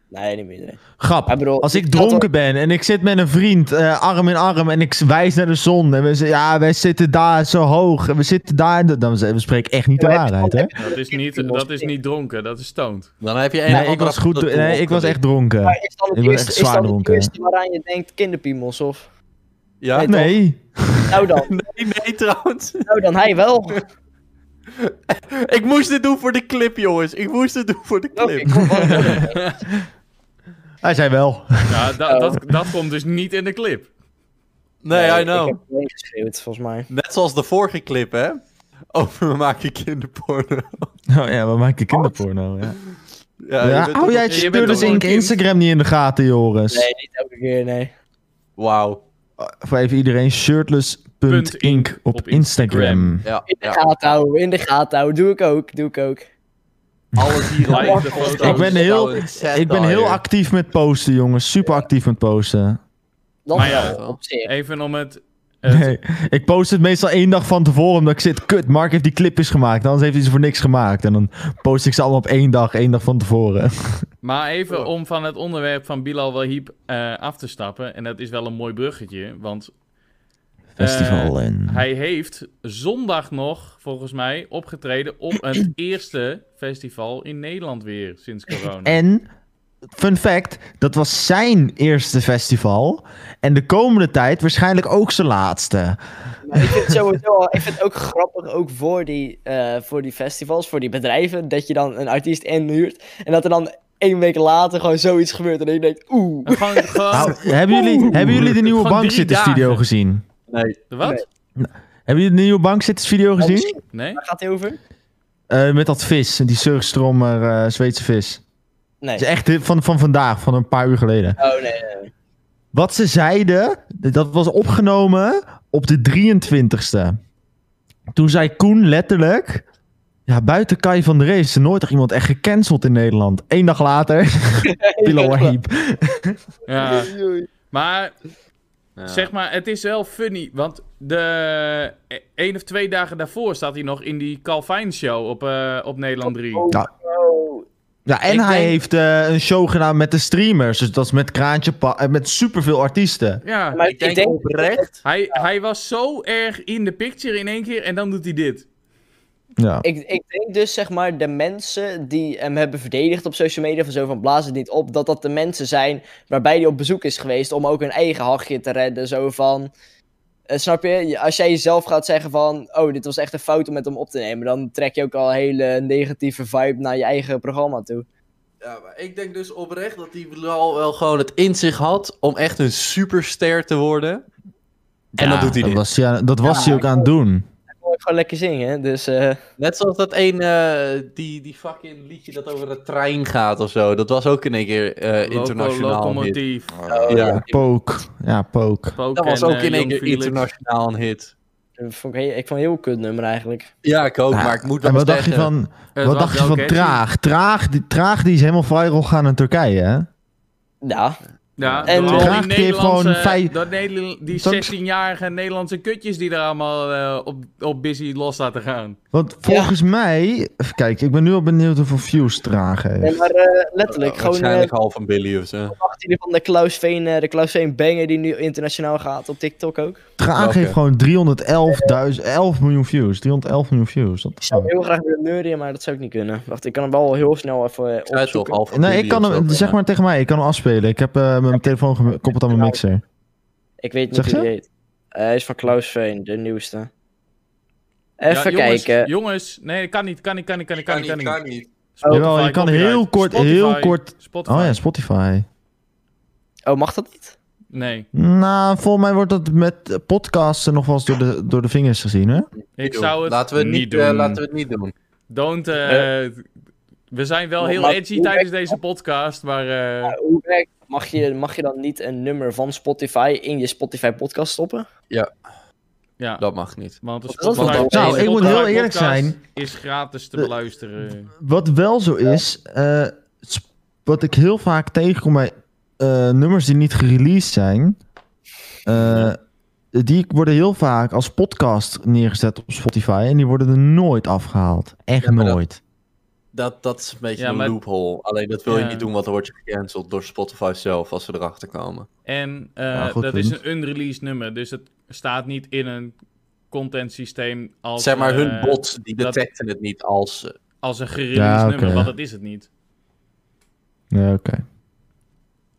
Nee, niet meer. Grap. Ik bedoel, als ik ik had dronken ben en ik zit met een vriend, eh, arm in arm, en ik wijs naar de zon. En we zeggen, ja, wij zitten daar zo hoog. En we zitten daar. en dat- Dan zeggen we, we spreken echt niet de Ja, maar- waarheid, hè? Dat is niet, dat is niet dronken, dat is stoned. Dan heb je een Nee, of ik andere was, goed, dat nee, ik was echt dronken. Maar is dan Ik het ben eerste, echt is zwaar dan het dronken. eerste waaraan je denkt kinderpiemels of... Ja? Nee, Nee. Nou dan, Nee, nee, trouwens. nou dan hij wel. Ik moest dit doen voor de clip, jongens. Ik moest dit doen voor de Oké, clip. kom, wat- wat- Hij zei wel. Ja, da- Oh. dat, dat komt dus niet in de clip. Nee, I Ik know. heb alleen geschreeuwd, volgens mij. Net zoals de vorige clip, hè? Over we maken kinderporno. Oh ja, we maken kinderporno. Ja. Ja, je Ja, bent oh ook- Eh, jij je bent stuurde toch ze ook in een kind? Instagram niet in de gaten, Joris. Nee, niet elke keer, nee. Wauw. Voor even iedereen, shirtless.ink op, op Instagram. Instagram. Ja, In de ja. gaten houden, in de gaten houden. Doe ik ook, doe ik ook. alles hier Like allemaal de gewoon foto's. staan. Ik ben heel, Staan. ik ben heel Staan. actief met posten, jongens. Super actief met posten. Dat Maar ja. wel, op zich. Even om het... het- Nee, ik post het meestal één dag van tevoren omdat ik zit, kut, Mark heeft die clip eens gemaakt, anders heeft hij ze voor niks gemaakt. En dan post ik ze allemaal op één dag, één dag van Eh, tevoren. Maar even om van het onderwerp van Bilal Wahib eh, af te stappen. En dat is wel een mooi bruggetje, want eh, Festival en... hij heeft zondag nog, volgens mij, opgetreden op het eerste festival in Nederland weer sinds corona. Nou, En, fun fact, dat was zijn eerste festival en de komende tijd waarschijnlijk ook zijn laatste. Maar ik vind het sowieso al, ik vind het ook grappig, ook voor die, eh, voor die festivals, voor die bedrijven, dat je dan een artiest inhuurt en dat er dan één week later gewoon zoiets gebeurt en dat je denkt, oeh. En gewoon, gewoon- Nou, hebben, jullie, hebben jullie de Gewoon nieuwe Oh. drie bankzittersvideo dagen. gezien? Nee. Wat? Hebben jullie de nieuwe bankzittersvideo gezien? Waar Nee? oh, gaat hij over? Eh, met dat vis, die surfstromer eh, Zweedse vis. Nee. Het is echt van, van vandaag, van een paar uur geleden. Oh nee, nee. nee. Wat ze zeiden, dat was opgenomen op de 23ste. Toen zei Koen letterlijk... Ja, buiten Kai van der Ree is er nooit toch iemand echt gecanceld in Nederland. Eén dag later, Bilal Wahib. Ja. Ah. Oei, oei. Maar Ja. zeg maar, het is wel funny, want de eh, één of twee dagen daarvoor staat hij nog in die Calvin show op, eh, op Nederland 3. Oh, Ja. oh. Ja, en Ik hij denk- heeft eh, een show gedaan met de streamers. Dus dat is met Kraantje Pa... eh, met superveel artiesten. Ja, Maar Ik denk oprecht. hij, hij was zo erg in de picture in één keer en dan doet hij dit. Ja. Ik, ik denk dus, zeg maar, de mensen die hem hebben verdedigd op social media, van zo van blaas het niet op, dat dat de mensen zijn waarbij hij op bezoek is geweest om ook hun eigen hachje te redden. Zo van, eh, snap je? Je- Als jij jezelf gaat zeggen van, oh, dit was echt een fout om met hem op te nemen, dan trek je ook al een hele negatieve vibe naar je eigen programma toe. Ja, maar ik denk dus oprecht dat hij wel, wel gewoon het in zich had om echt een superster te worden. En dat doet hij Dat niet. was, ja, dat was hij ook aan het doen. Ik wil ook gewoon lekker zingen, hè, dus... eh, Net zoals dat een, eh, die, die fucking liedje dat over de trein gaat of zo. Dat was ook in een keer eh, internationaal een hit. Locomotief. Ja, Poke. Ja, poke. dat was ook eh, in een keer internationaal. internationaal een hit. dat vond ik, heel- ik vond het een heel kut nummer eigenlijk. Ja, ik ook, Ja, maar ik moet wel En wat dacht zeggen... je van, Eh, wat dacht je van traag? Traag die, traag die is helemaal viral gaan in Turkije, hè? Ja, Ja, En en al Traag die die heeft gewoon Nederlandse, vijf- dat Nederland- die Dat- 16-jarige Nederlandse kutjes die er allemaal eh, op, op busy los laten gaan. Want volgens mij... Even kijken, ik ben nu al benieuwd hoeveel views traag heeft. nee, maar eh, letterlijk, eh, gewoon eh, waarschijnlijk half een biljoen of zo. wacht hier van de Klaus Veen, eh, de Klaus Veen banger die nu internationaal gaat op TikTok ook. Traag Welke? heeft gewoon 311.000 11 miljoen views. 311 miljoen views. Dat Ik is zou heel graag willen neurien, maar dat zou ik niet kunnen. Wacht, ik kan hem wel heel snel even Ja, eh, het is toch opzoeken. half een Nee, ik biljoen kan of hem, zo. zeg maar tegen mij, ik kan hem afspelen. Ik heb eh, met mijn telefoon gem- koppeld aan mijn mixer. Ik weet niet Zeg hoe je? die heet. Eh, hij is van Klaus Veen, de nieuwste. Even Ja, jongens, kijken. Jongens, nee, kan niet, kan niet, kan niet, kan niet, kan niet. Kan niet. Jawel, je kan heel kort, heel kort- Spotify. Oh ja, Spotify. Oh, mag dat niet? Nee, Nou, volgens mij wordt dat met eh, podcasten nog wel eens door de, door de vingers gezien, hè? ik zou het laten we het niet niet, doen. eh, laten we het niet doen. Don't, eh, we zijn wel Maar- heel maar- edgy tijdens deze podcast, maar eh, Maar Hoe werkt mag je, mag je dan niet een nummer van Spotify in je Spotify podcast stoppen? ja. Dat mag niet. Want de Wat is dat Spotify, dan? Nou, de ik moet heel Spotify eerlijk podcast zijn. Is gratis te De- beluisteren. Wat wel zo is, eh, sp- wat ik heel vaak tegenkom bij eh, nummers die niet gereleased zijn, eh, die worden heel vaak als podcast neergezet op Spotify en die worden er nooit afgehaald. Echt Ja, maar dat- nooit. Dat, dat is een beetje Ja, een maar- loophole. Alleen dat wil je Ja. niet doen, want dan word je gecanceld door Spotify zelf als ze erachter komen. En eh, Ja, goed dat punt. is een unreleased nummer, dus het staat niet in een content systeem als, zeg maar, hun eh, bots die dat- detecten het niet als... eh, als een gereleased Ja, oké, nummer, ja. want dat is het niet. Ja, oké.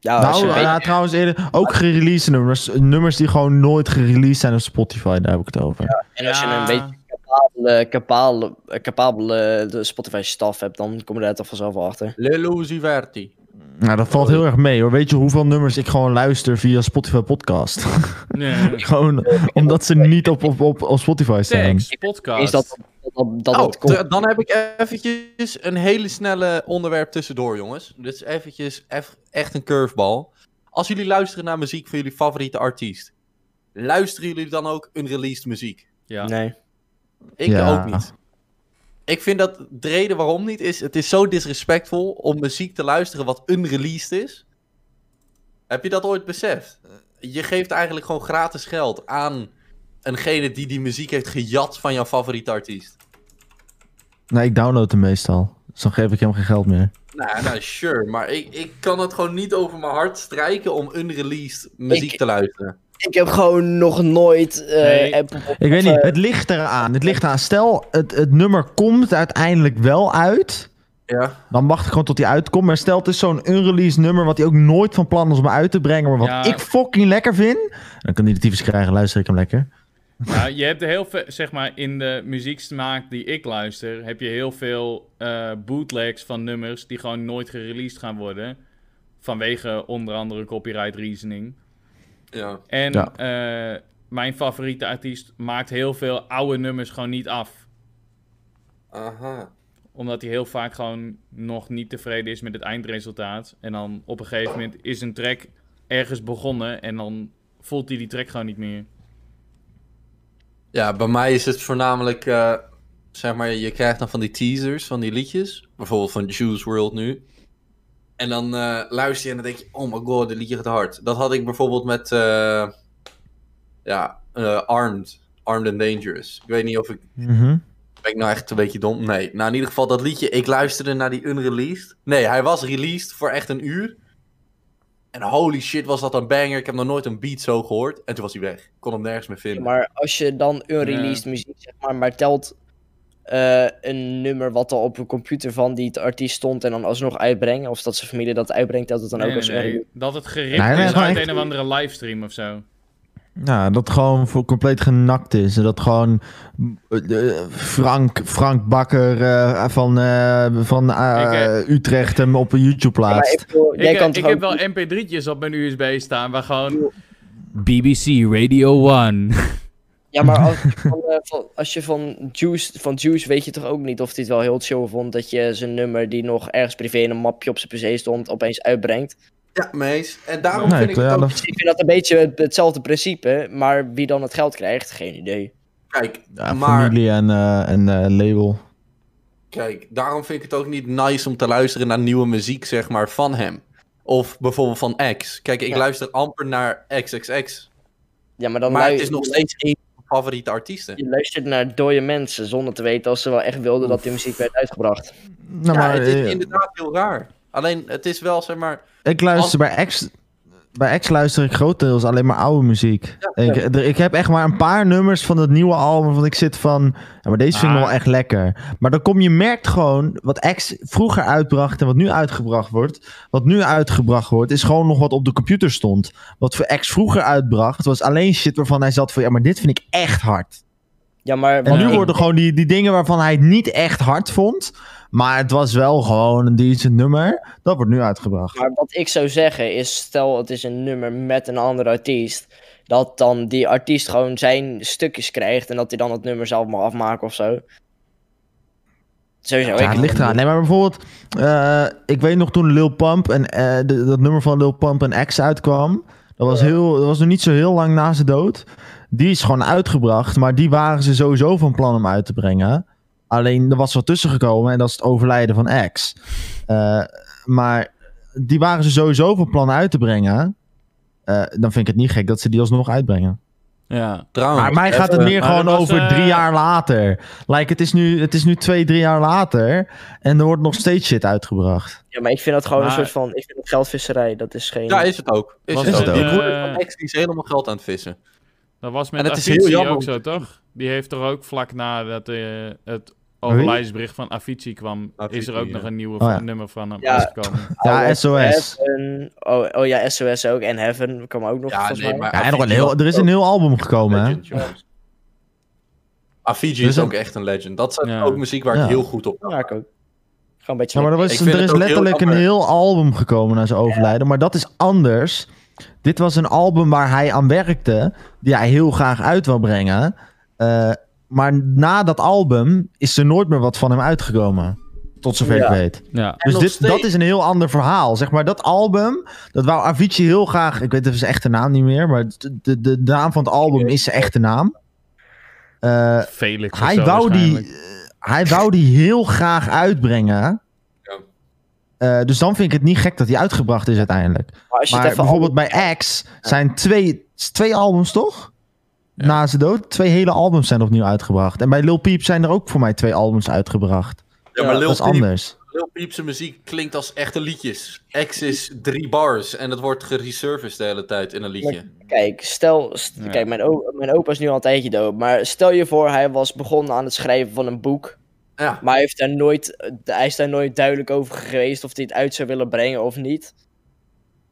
Ja, Ah, als Nou, je weet- ja, trouwens eerder, ook gereleased nummers. Nummers die gewoon nooit gereleased zijn op Spotify, daar heb ik het over. en als je Ja. een beetje capabele, capabele, eh, capabele de Spotify staf hebt, dan kom je daar toch vanzelf wel achter. Lelo Ziverti. Nou, dat valt heel erg mee hoor. Weet je hoeveel nummers ik gewoon luister via Spotify podcast? Nee. gewoon omdat ze niet op, op, op, op Spotify staan. Tags, podcast. Is dat dat, dat, dat Oh, het komt? d- dan heb ik eventjes een hele snelle onderwerp tussendoor, jongens. Dus eventjes eff- echt een curveball. Als jullie luisteren naar muziek van jullie favoriete artiest, luisteren jullie dan ook unreleased muziek? Ja. Nee. Ik Ja. ook niet. Ik vind dat de reden waarom niet is, het is zo disrespectvol om muziek te luisteren wat unreleased is. Heb je dat ooit beseft? Je geeft eigenlijk gewoon gratis geld aan eengene die die muziek heeft gejat van jouw favoriete artiest. Nee, ik download hem meestal. Dus dan geef ik hem geen geld meer. Nou, nou sure, maar ik, ik kan het gewoon niet over mijn hart strijken om unreleased muziek Ik- te luisteren. Ik heb gewoon nog nooit eh, Nee. Apple Ik weet of, niet, eh, het ligt eraan. Het ligt eraan. Stel, het, het nummer komt uiteindelijk wel uit. Ja. Dan wacht ik gewoon tot die uitkomt. Maar stel, het is zo'n unreleased nummer wat hij ook nooit van plan is om uit te brengen. Maar wat Ja. ik fucking lekker vind. Dan kan hij de tyfus krijgen, luister ik hem lekker. Nou, je hebt heel veel, zeg maar, in de muzieksmaak die ik luister, heb je heel veel eh, bootlegs van nummers die gewoon nooit gereleased gaan worden. Vanwege onder andere copyright reasoning. ja. En Ja. eh, mijn favoriete artiest maakt heel veel oude nummers gewoon niet af. Aha. Omdat hij heel vaak gewoon nog niet tevreden is met het eindresultaat. En dan op een gegeven moment is een track ergens begonnen en dan voelt hij die track gewoon niet meer. Ja, bij mij is het voornamelijk, eh, zeg maar, je krijgt dan van die teasers van die liedjes. Bijvoorbeeld van Juice World nu. En dan eh, luister je en dan denk je, oh my god, dit liedje gaat hard. Dat had ik bijvoorbeeld met, eh, ja, eh, Armed. Armed and Dangerous. Ik weet niet of ik Mhm. Ben ik nou echt een beetje dom? Nee. Nou, in ieder geval dat liedje. Ik luisterde naar die unreleased. Nee, hij was released voor echt een uur. En holy shit, was dat een banger. Ik heb nog nooit een beat zo gehoord. En toen was hij weg. Ik kon hem nergens meer vinden. Maar als je dan unreleased muziek, zeg maar, maar telt eh, eh, een nummer wat al op een computer van die het artiest stond en dan alsnog uitbrengen. Of dat zijn familie dat uitbrengt, dat het dan Nee, ook nee, als nee. nee. Dat het gericht Nee, nee, is gewoon uit echt- een of andere livestream of zo. Ja, dat gewoon voor compleet genakt is. En dat gewoon eh, eh, Frank, Frank Bakker eh, van, eh, van eh, Utrecht hem op YouTube plaatst. jij ik kan heb- toch ik ook- heb wel mp3'tjes op mijn USB staan waar gewoon... Yo. BBC Radio 1. Ja, maar als je van, eh, van, als je van, Juice, van Juice weet je toch ook niet of hij het wel heel chill vond dat je zijn nummer die nog ergens privé in een mapje op zijn pc stond opeens uitbrengt. Ja, mees. En daarom Nee, vind ik het ja, ook... dat- Dus ik vind dat een beetje het- hetzelfde principe, maar wie dan het geld krijgt, geen idee. Kijk, Ja, maar... Familie en, eh, en eh, label. Kijk, daarom vind ik het ook niet nice om te luisteren naar nieuwe muziek, zeg maar, van hem. Of bijvoorbeeld van X. Kijk, ik Ja. luister amper naar XXX. Ja, maar dan Maar het lui- is nog steeds een van mijn favoriete artiesten. je luistert naar dode mensen zonder te weten of ze wel echt wilden dat die muziek werd uitgebracht. Nou, Ja, maar, het is eh, inderdaad heel raar. Alleen, het is wel, zeg maar... ik luister bij X. Bij X luister ik grotendeels alleen maar oude muziek. ik, er- ik heb echt maar een paar nummers van het nieuwe album. Van ik zit van. Ja, maar deze vind ik Ah. wel echt lekker. Maar dan kom je merkt gewoon. Wat X vroeger uitbracht en wat nu uitgebracht wordt. Wat nu uitgebracht wordt, is gewoon nog wat op de computer stond. Wat voor X vroeger uitbracht, was alleen shit waarvan hij zat van. Ja, maar dit vind ik echt hard. Ja, maar En wat nu ik- worden gewoon die, die dingen waarvan hij het niet echt hard vond. Maar het was wel gewoon een decent nummer. Dat wordt nu uitgebracht. Maar wat ik zou zeggen is, stel het is een nummer met een andere artiest, dat dan die artiest gewoon zijn stukjes krijgt en dat hij dan het nummer zelf mag afmaken of zo. Sowieso. Ja, ik- het ligt eraan. Nee, maar bijvoorbeeld, eh, ik weet nog toen Lil Pump en eh, de- dat nummer van Lil Pump en X uitkwam. Dat was, heel, dat was nog niet zo heel lang na zijn dood. Die is gewoon uitgebracht, maar die waren ze sowieso van plan om uit te brengen. Alleen er was wat tussen gekomen en dat is het overlijden van X. Eh, maar die waren ze sowieso van plan uit te brengen. Eh, dan vind ik het niet gek dat ze die alsnog uitbrengen. Ja. Trouwens, Maar mij gaat het even- meer maar gewoon dat was, over eh, drie jaar later. Like, het is, nu, het is nu twee, drie jaar later. En er wordt nog steeds shit uitgebracht. Ja, maar ik vind dat gewoon Maar- een soort van, ik vind het geldvisserij, dat is geen... Ja, is het ook. Is Was het ook. het, Die eh, broer van X die is helemaal geld aan het vissen. Dat was En met het is heel Avicii jammer ook om zo, toch? Die heeft er ook vlak na dat, eh, het overlijdensbericht van Avicii kwam... is er Avicii, ook ja. nog een nieuwe Oh, ja. nummer van hem Ja. uitgekomen. Oh, Ja, SOS. Heaven. Oh, oh ja, SOS ook. En Heaven kwam ook nog. Ja, volgens nee, mij. maar... Ja, en nog een Avicii heel, was er is ook een heel album een gekomen, hè? legend, jongens. Avicii Dus is dat- ook echt een legend. Dat is Ja. ook muziek waar Ja. ik heel goed op Ja, ik ook. Gewoon een beetje. Ja, maar er, Ik was, vind er het is ook heel letterlijk een jammer. heel album gekomen na zijn overlijden. Maar dat is anders. Dit was een album waar hij aan werkte. Die hij heel graag uit wil brengen. Eh, maar na dat album is er nooit meer wat van hem uitgekomen. Tot zover Ja. ik weet. Ja. En Dus nog dit, steeds. dat is een heel ander verhaal. Zeg maar, dat album, dat wou Avicii heel graag... Ik weet even zijn echte naam niet meer, maar de, de, de naam van het album is zijn echte naam. Eh, Felix of hij, zo wou die, waarschijnlijk. eh, hij wou die heel graag uitbrengen. Ja. Eh, dus dan vind ik het niet gek dat hij uitgebracht is uiteindelijk. Maar als je Maar het even bijvoorbeeld bij X zijn twee, twee albums, toch? Ja. Na zijn dood, twee hele albums zijn opnieuw uitgebracht. En bij Lil Peep zijn er ook voor mij twee albums uitgebracht. Ja, maar Ja, Lil dat is Peep, anders. Lil Peep zijn muziek klinkt als echte liedjes. X is drie bars en het wordt geresurfaced de hele tijd in een liedje. Kijk, stel, st- Ja. kijk mijn, o- mijn opa is nu al een tijdje dood, maar stel je voor hij was begonnen aan het schrijven van een boek, Ja, maar hij, heeft daar nooit, eh, hij is daar nooit duidelijk over geweest of hij het uit zou willen brengen of niet.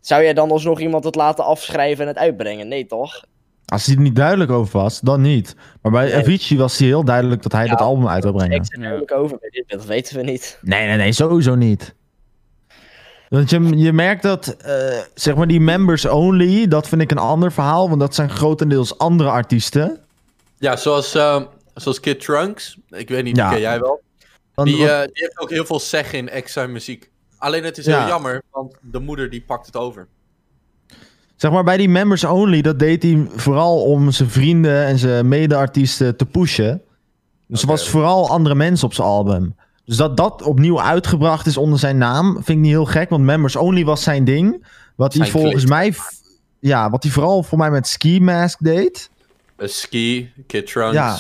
Zou jij dan alsnog iemand het laten afschrijven en het uitbrengen? Nee toch? Als hij er niet duidelijk over was, dan niet. Maar bij Nee. Avicii was hij heel duidelijk dat hij Ja, dat album uit wil brengen. Ik zit er Ja. duidelijk over, maar dit- dat weten we niet. Nee, nee, nee, sowieso niet. Want je, je merkt dat, eh, zeg maar, die members only, dat vind ik een ander verhaal. Want dat zijn grotendeels andere artiesten. ja zoals, ehm, zoals Kid Trunks. Ik weet niet, Ja. die ken jij wel. Want- Die, want- eh, die heeft ook heel veel zeg in X zijn muziek. Alleen het is Ja. heel jammer, want de moeder die pakt het over. Zeg maar, bij die members only, dat deed hij vooral om zijn vrienden en zijn mede-artiesten te pushen. Dus er Oké. was vooral andere mensen op zijn album. Dus dat dat opnieuw uitgebracht is onder zijn naam, vind ik niet heel gek. Want members only was zijn ding. Wat hij Zijn volgens kleed. mij... v- Ja, wat hij vooral voor mij met Ski Mask deed. Eh, ski, Kid Trunks. Ja.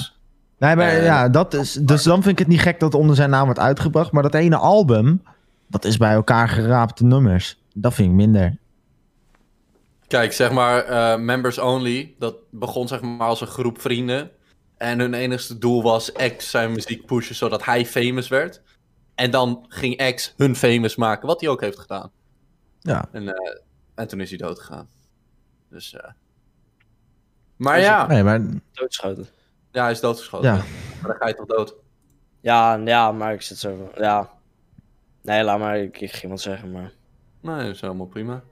Nee, maar Eh, ja, dat is... Dus dan vind ik het niet gek dat het onder zijn naam wordt uitgebracht. Maar dat ene album, dat is bij elkaar geraapte nummers. Dat vind ik minder. Kijk, zeg maar, eh, Members Only, dat begon zeg maar als een groep vrienden. En hun enigste doel was X zijn muziek pushen zodat hij famous werd. En dan ging X hun famous maken, wat hij ook heeft gedaan. Ja. En, eh, en toen is hij dood gegaan. Dus, eh. Maar Is het- ja, Nee, maar Doodgeschoten. ja, hij is doodgeschoten. Ja. Ja. Maar dan ga je toch dood. Ja, ja, maar ik zit zo van, ja. Nee, laat maar, ik, ik ging wat zeggen, maar... Nee, dat is helemaal prima.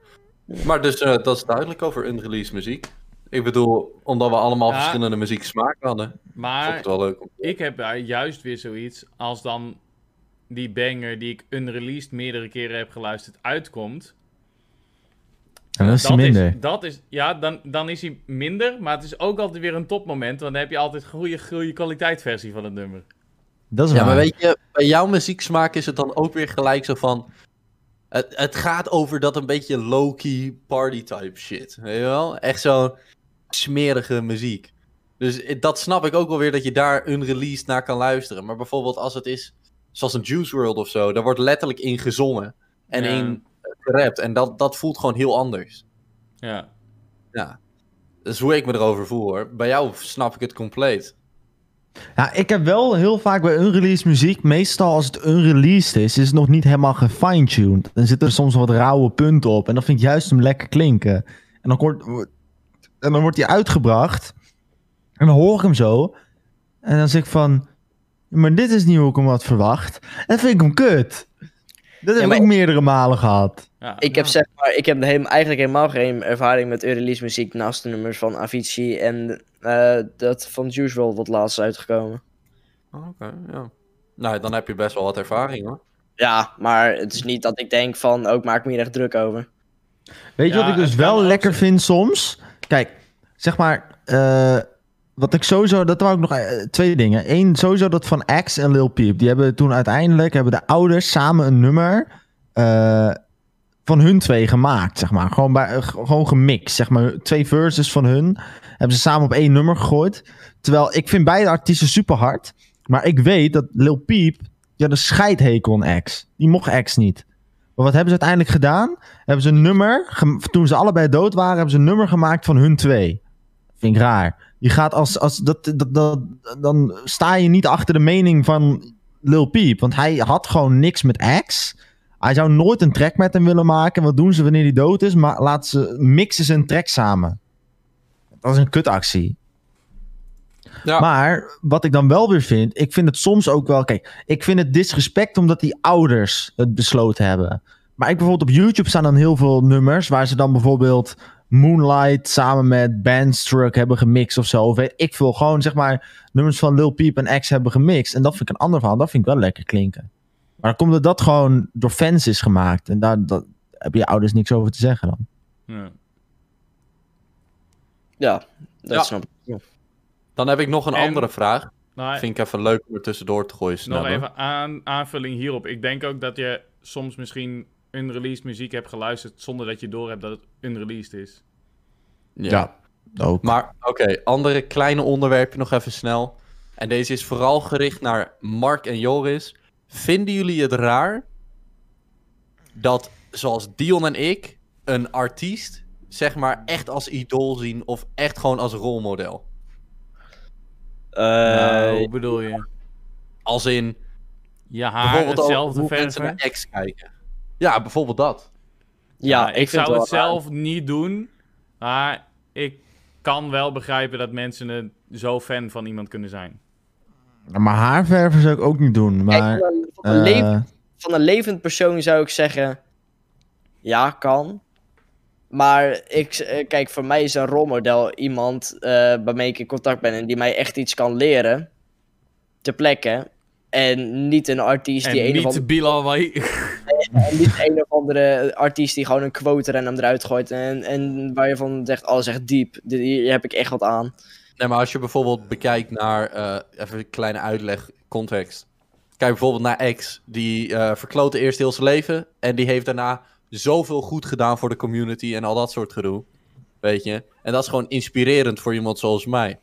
Maar dus, eh, dat is duidelijk over unreleased muziek. Ik bedoel, omdat we allemaal Ja. verschillende muzieksmaken hadden. Vond Maar ik het wel leuk. om- ik heb daar juist weer zoiets als dan die banger die ik unreleased meerdere keren heb geluisterd uitkomt. dan is hij minder. Is, dat is, ja, dan, dan is hij minder, maar het is ook altijd weer een topmoment, want dan heb je altijd goede, goede kwaliteitsversie van het nummer. Dat is Ja, waar. maar weet je, bij jouw muzieksmaak is het dan ook weer gelijk zo van... Het, het gaat over dat een beetje low-key party-type shit, weet je wel? Echt zo'n smerige muziek. Dus i- dat snap ik ook wel weer, dat je daar unreleased naar kan luisteren. Maar bijvoorbeeld als het is, zoals een Juice WRLD of zo... daar wordt letterlijk in gezongen en Ja. in gerapt. En dat, dat voelt gewoon heel anders. Ja. Ja. Dat is hoe ik me erover voel, hoor. Bij jou snap ik het compleet. Ja, ik heb wel heel vaak bij unreleased muziek, meestal als het unreleased is, is het nog niet helemaal gefine-tuned. Dan zitten er soms wat rauwe punten op en dan vind ik juist hem lekker klinken. En dan, wordt, wordt- en dan wordt hij uitgebracht en dan hoor ik hem zo. En dan zeg ik van, maar dit is niet hoe ik hem had verwacht. En vind ik hem kut. Dat heb maar- ik ook meerdere malen gehad. Ja, Ik heb ja. zeg maar, ik heb heem- eigenlijk helemaal geen ervaring met unreleased muziek naast de nummers van Avicii en eh, dat van Juice WRLD wat laatst is uitgekomen. Oké, ja. Nou, dan heb je best wel wat ervaring, hoor. Ja, maar het is niet dat ik denk van, ook maak me hier echt druk over. Weet je Ja, wat ik dus het kan wel ook lekker zijn. vind soms? Kijk, zeg maar, eh, wat ik sowieso, dat wou ik nog eh, twee dingen. Eén, sowieso dat van X en Lil Peep. Die hebben toen uiteindelijk, hebben de ouders samen een nummer eh, van hun twee gemaakt, zeg maar. Gewoon, bij, eh, g- gewoon gemixt, zeg maar. Twee verses van hun hebben ze samen op één nummer gegooid. Terwijl ik vind beide artiesten super hard. Maar ik weet dat Lil Peep, ja, de scheidhekel aan X. Die mocht X niet. Maar wat hebben ze uiteindelijk gedaan? hebben ze een nummer. gem- Toen ze allebei dood waren, hebben ze een nummer gemaakt van hun twee. Vind ik raar. Je gaat als. als dat, dat, dat, dan sta je niet achter de mening van Lil Peep. Want hij had gewoon niks met X. Hij zou nooit een track met hem willen maken. Wat doen ze wanneer hij dood is? Maar laten ze, mixen ze een track samen. Dat is een kutactie. Ja. Maar wat ik dan wel weer vind, ik vind het soms ook wel. Kijk, ik vind het disrespect omdat die ouders het besloten hebben. Maar ik bijvoorbeeld op YouTube staan dan heel veel nummers waar ze dan bijvoorbeeld Moonlight samen met Bandstruck hebben gemixt of zo. Of weet ik veel. Gewoon zeg maar nummers van Lil Peep en X hebben gemixt. En dat vind ik een ander verhaal. Dat vind ik wel lekker klinken. Maar dan komt dat dat gewoon door fans is gemaakt. En daar dat, hebben je ouders niks over te zeggen dan. Ja. Ja, dat Ja. snap ik. Dan heb ik nog een En- andere vraag. Nou, Vind ik even leuk om er tussendoor te gooien. Nog snel, hoor. even aan, aanvulling hierop. Ik denk ook dat je soms misschien unreleased muziek hebt geluisterd zonder dat je door hebt dat het unreleased is. Ja. Ook. Maar oké, andere kleine onderwerpen nog even snel. En deze is vooral gericht naar Mark en Joris. Vinden jullie het raar dat, zoals Dion en ik, een artiest zeg maar echt als idool zien of echt gewoon als rolmodel? Eh, Nou, hoe bedoel je? Als in Je haar bijvoorbeeld ook hetzelfde hoe mensen verven? naar ex kijken. Ja, bijvoorbeeld dat. ja, ik, nou, ik vind zou wel het raar. zelf niet doen, maar ik kan wel begrijpen dat mensen er zo fan van iemand kunnen zijn. Maar haarverven zou ik ook niet doen. Kijk, Maar, van, een, van een eh, levend, van een levend persoon zou ik zeggen, ja, kan. Maar ik, eh, kijk, voor mij is een rolmodel iemand eh waarmee ik in contact ben en die mij echt iets kan leren. Ter plekke. En niet een artiest die en een of andere niet Bilal Wai- En niet een of andere artiest die gewoon een quote random eruit gooit. En, en waar je van zegt, alles echt diep. Dit- Hier heb ik echt wat aan. Nee, maar als je bijvoorbeeld bekijkt naar, eh, even een kleine uitleg, context. Kijk bijvoorbeeld naar X, die eh, verklote eerst heel zijn leven en die heeft daarna zoveel goed gedaan voor de community en al dat soort gedoe. Weet je? En dat is gewoon inspirerend voor iemand zoals mij.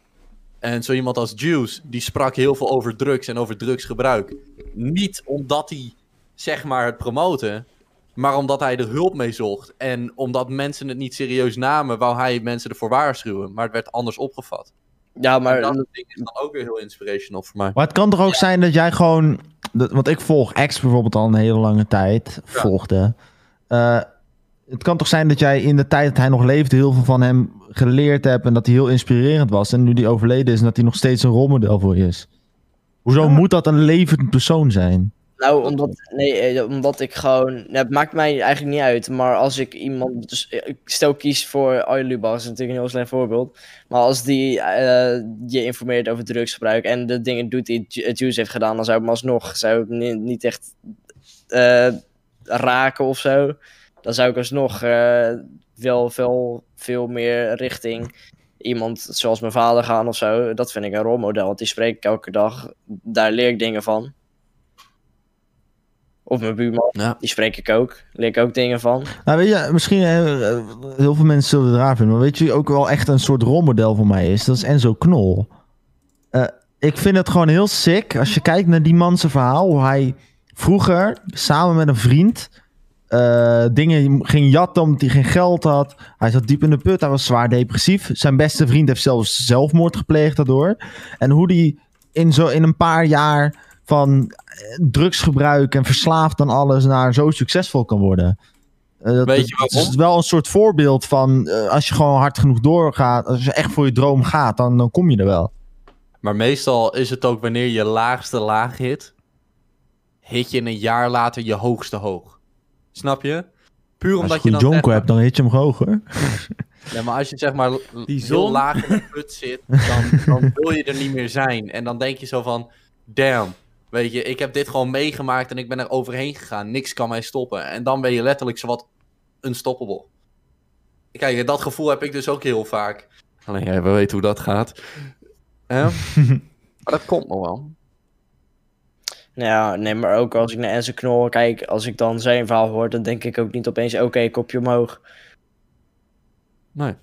En zo iemand als Juice, die sprak heel veel over drugs en over drugsgebruik. Niet omdat hij, zeg maar, het promoten, maar omdat hij er hulp mee zocht. En omdat mensen het niet serieus namen, wou hij mensen ervoor waarschuwen. Maar het werd anders opgevat. Ja, maar... dat ding is dan ook weer heel inspirational voor mij. Maar het kan toch ook zijn dat jij gewoon. Dat, want ik volg X bijvoorbeeld al een hele lange tijd. Volgde. Eh, het kan toch zijn dat jij in de tijd dat hij nog leefde. heel veel van hem geleerd hebt. en dat hij heel inspirerend was. En nu die overleden is. en dat hij nog steeds een rolmodel voor je is. Hoezo moet dat een levend persoon zijn? Nou, omdat, nee, eh, omdat ik gewoon. nou, het maakt mij eigenlijk niet uit. Maar als ik iemand. Dus, eh, ik stel kies voor Arjen Lubach, is natuurlijk een heel slecht voorbeeld. Maar als die eh, je informeert over drugsgebruik. en de dingen doet die Ju- eh, Juice heeft gedaan. dan zou ik hem alsnog. zou ik hem ni- niet echt. eh, raken of zo. Dan zou ik alsnog. eh, wel veel, veel meer richting. iemand zoals mijn vader gaan of zo. Dat vind ik een rolmodel. Want die spreek ik elke dag. Daar leer ik dingen van. Of mijn buurman, Ja. die spreek ik ook. Leer ik ook dingen van. Nou, weet je, misschien. eh, eh, heel veel mensen zullen het raar vinden. maar weet je, wie ook wel echt een soort rolmodel voor mij is. Dat is Enzo Knol. Eh, ik vind het gewoon heel sick. Als je kijkt naar die man zijn verhaal. Hoe hij vroeger samen met een vriend eh, dingen ging jatten omdat hij geen geld had. Hij zat diep in de put. Hij was zwaar depressief. Zijn beste vriend heeft zelfs zelfmoord gepleegd daardoor. En hoe die in, zo, in een paar jaar van eh, drugsgebruik en verslaafd aan alles naar zo succesvol kan worden. Eh, dat, Weet je dat waarom? is wel een soort voorbeeld van eh, als je gewoon hard genoeg doorgaat, als je echt voor je droom gaat, dan, dan kom je er wel. Maar meestal is het ook wanneer je laagste laag hit, hit je een jaar later je hoogste hoog. Snap je? Puur Als je omdat een dan. goede jonko zeg hebt, dan hit je hem hoger. maar- Nee, maar als je zeg maar l- Die heel zon. laag in de put zit, dan, dan wil je er niet meer zijn. En dan denk je zo van, damn. Weet je, ik heb dit gewoon meegemaakt en ik ben er overheen gegaan. Niks kan mij stoppen. En dan ben je letterlijk zowat unstoppable. Kijk, dat gevoel heb ik dus ook heel vaak. Alleen, ja, we weten hoe dat gaat. Hè? maar dat komt nog wel. Nou ja, nee, maar ook als ik naar Enzo Knol kijk, als ik dan zijn verhaal hoor, dan denk ik ook niet opeens, oké, kopje omhoog. Nee.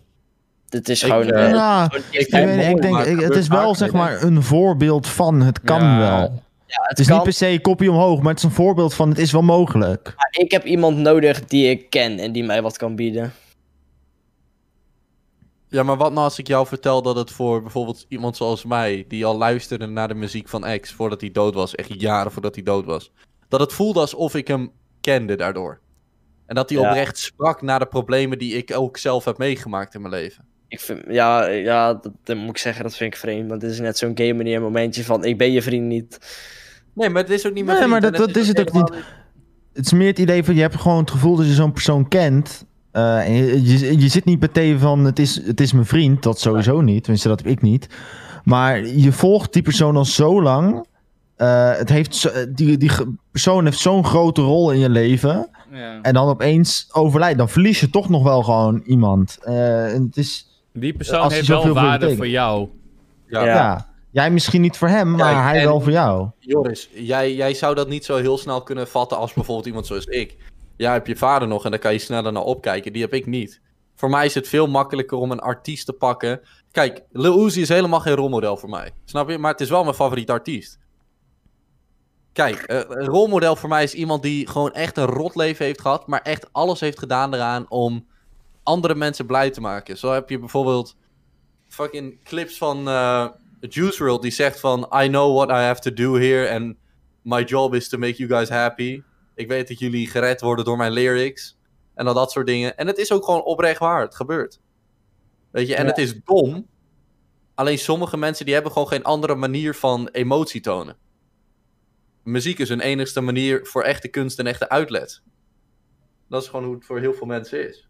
Dit is Ik, gewoon... eh, eh, Ja, gewoon- ik Ik, weet mooi, niet, ik denk, maar het ik- het gebeurt is wel vaker, zeg denk maar een voorbeeld van het kan Ja. wel. ja, Het is niet per se kopie omhoog, maar het is een voorbeeld van het is wel mogelijk. Ik heb iemand nodig die ik ken en die mij wat kan bieden. Ja, maar wat nou als ik jou vertel dat het voor bijvoorbeeld iemand zoals mij, die al luisterde naar de muziek van X voordat hij dood was, echt jaren voordat hij dood was, dat het voelde alsof ik hem kende daardoor. En dat hij Ja. oprecht sprak naar de problemen die ik ook zelf heb meegemaakt in mijn leven. Ik vind, ja, ja dat, dat moet ik zeggen, dat vind ik vreemd. Want dit is net zo'n game manier momentje van, ik ben je vriend niet. Nee, maar het is ook niet Nee, mijn maar vriend dat- en dat is het ook helemaal Het is meer het idee van je hebt gewoon het gevoel dat je zo'n persoon kent. Eh, en je, je, je zit niet meteen van het is, het is mijn vriend, dat sowieso niet, tenminste dat heb ik niet. Maar je volgt die persoon al zo lang. Eh, het heeft, zo- die, die ge- persoon heeft zo'n grote rol in je leven. Ja. En dan opeens overlijdt. Dan verlies je toch nog wel gewoon iemand. Eh, en het is, Die persoon Als hij heeft wel zoveel voor je waarde betekent. voor jou. Ja. ja. jij misschien niet voor hem, maar Kijk, hij en- wel voor jou. Joris, jij, jij zou dat niet zo heel snel kunnen vatten als bijvoorbeeld iemand zoals ik. Jij hebt je vader nog en daar kan je sneller naar opkijken. Die heb ik niet. Voor mij is het veel makkelijker om een artiest te pakken. Kijk, Lil Uzi is helemaal geen rolmodel voor mij. Snap je? Maar het is wel mijn favoriete artiest. Kijk, eh, een rolmodel voor mij is iemand die gewoon echt een rot leven heeft gehad. Maar echt alles heeft gedaan eraan om andere mensen blij te maken. Zo heb je bijvoorbeeld fucking clips van eh, Juice WRLD die zegt van I know what I have to do here and my job is to make you guys happy. Ik weet dat jullie gered worden door mijn lyrics en al dat soort dingen. En het is ook gewoon oprecht waar, het gebeurt. Weet je, en Ja. het is dom. Alleen sommige mensen die hebben gewoon geen andere manier van emotie tonen. Muziek is hun enigste manier voor echte kunst en echte outlet. Dat is gewoon hoe het voor heel veel mensen is.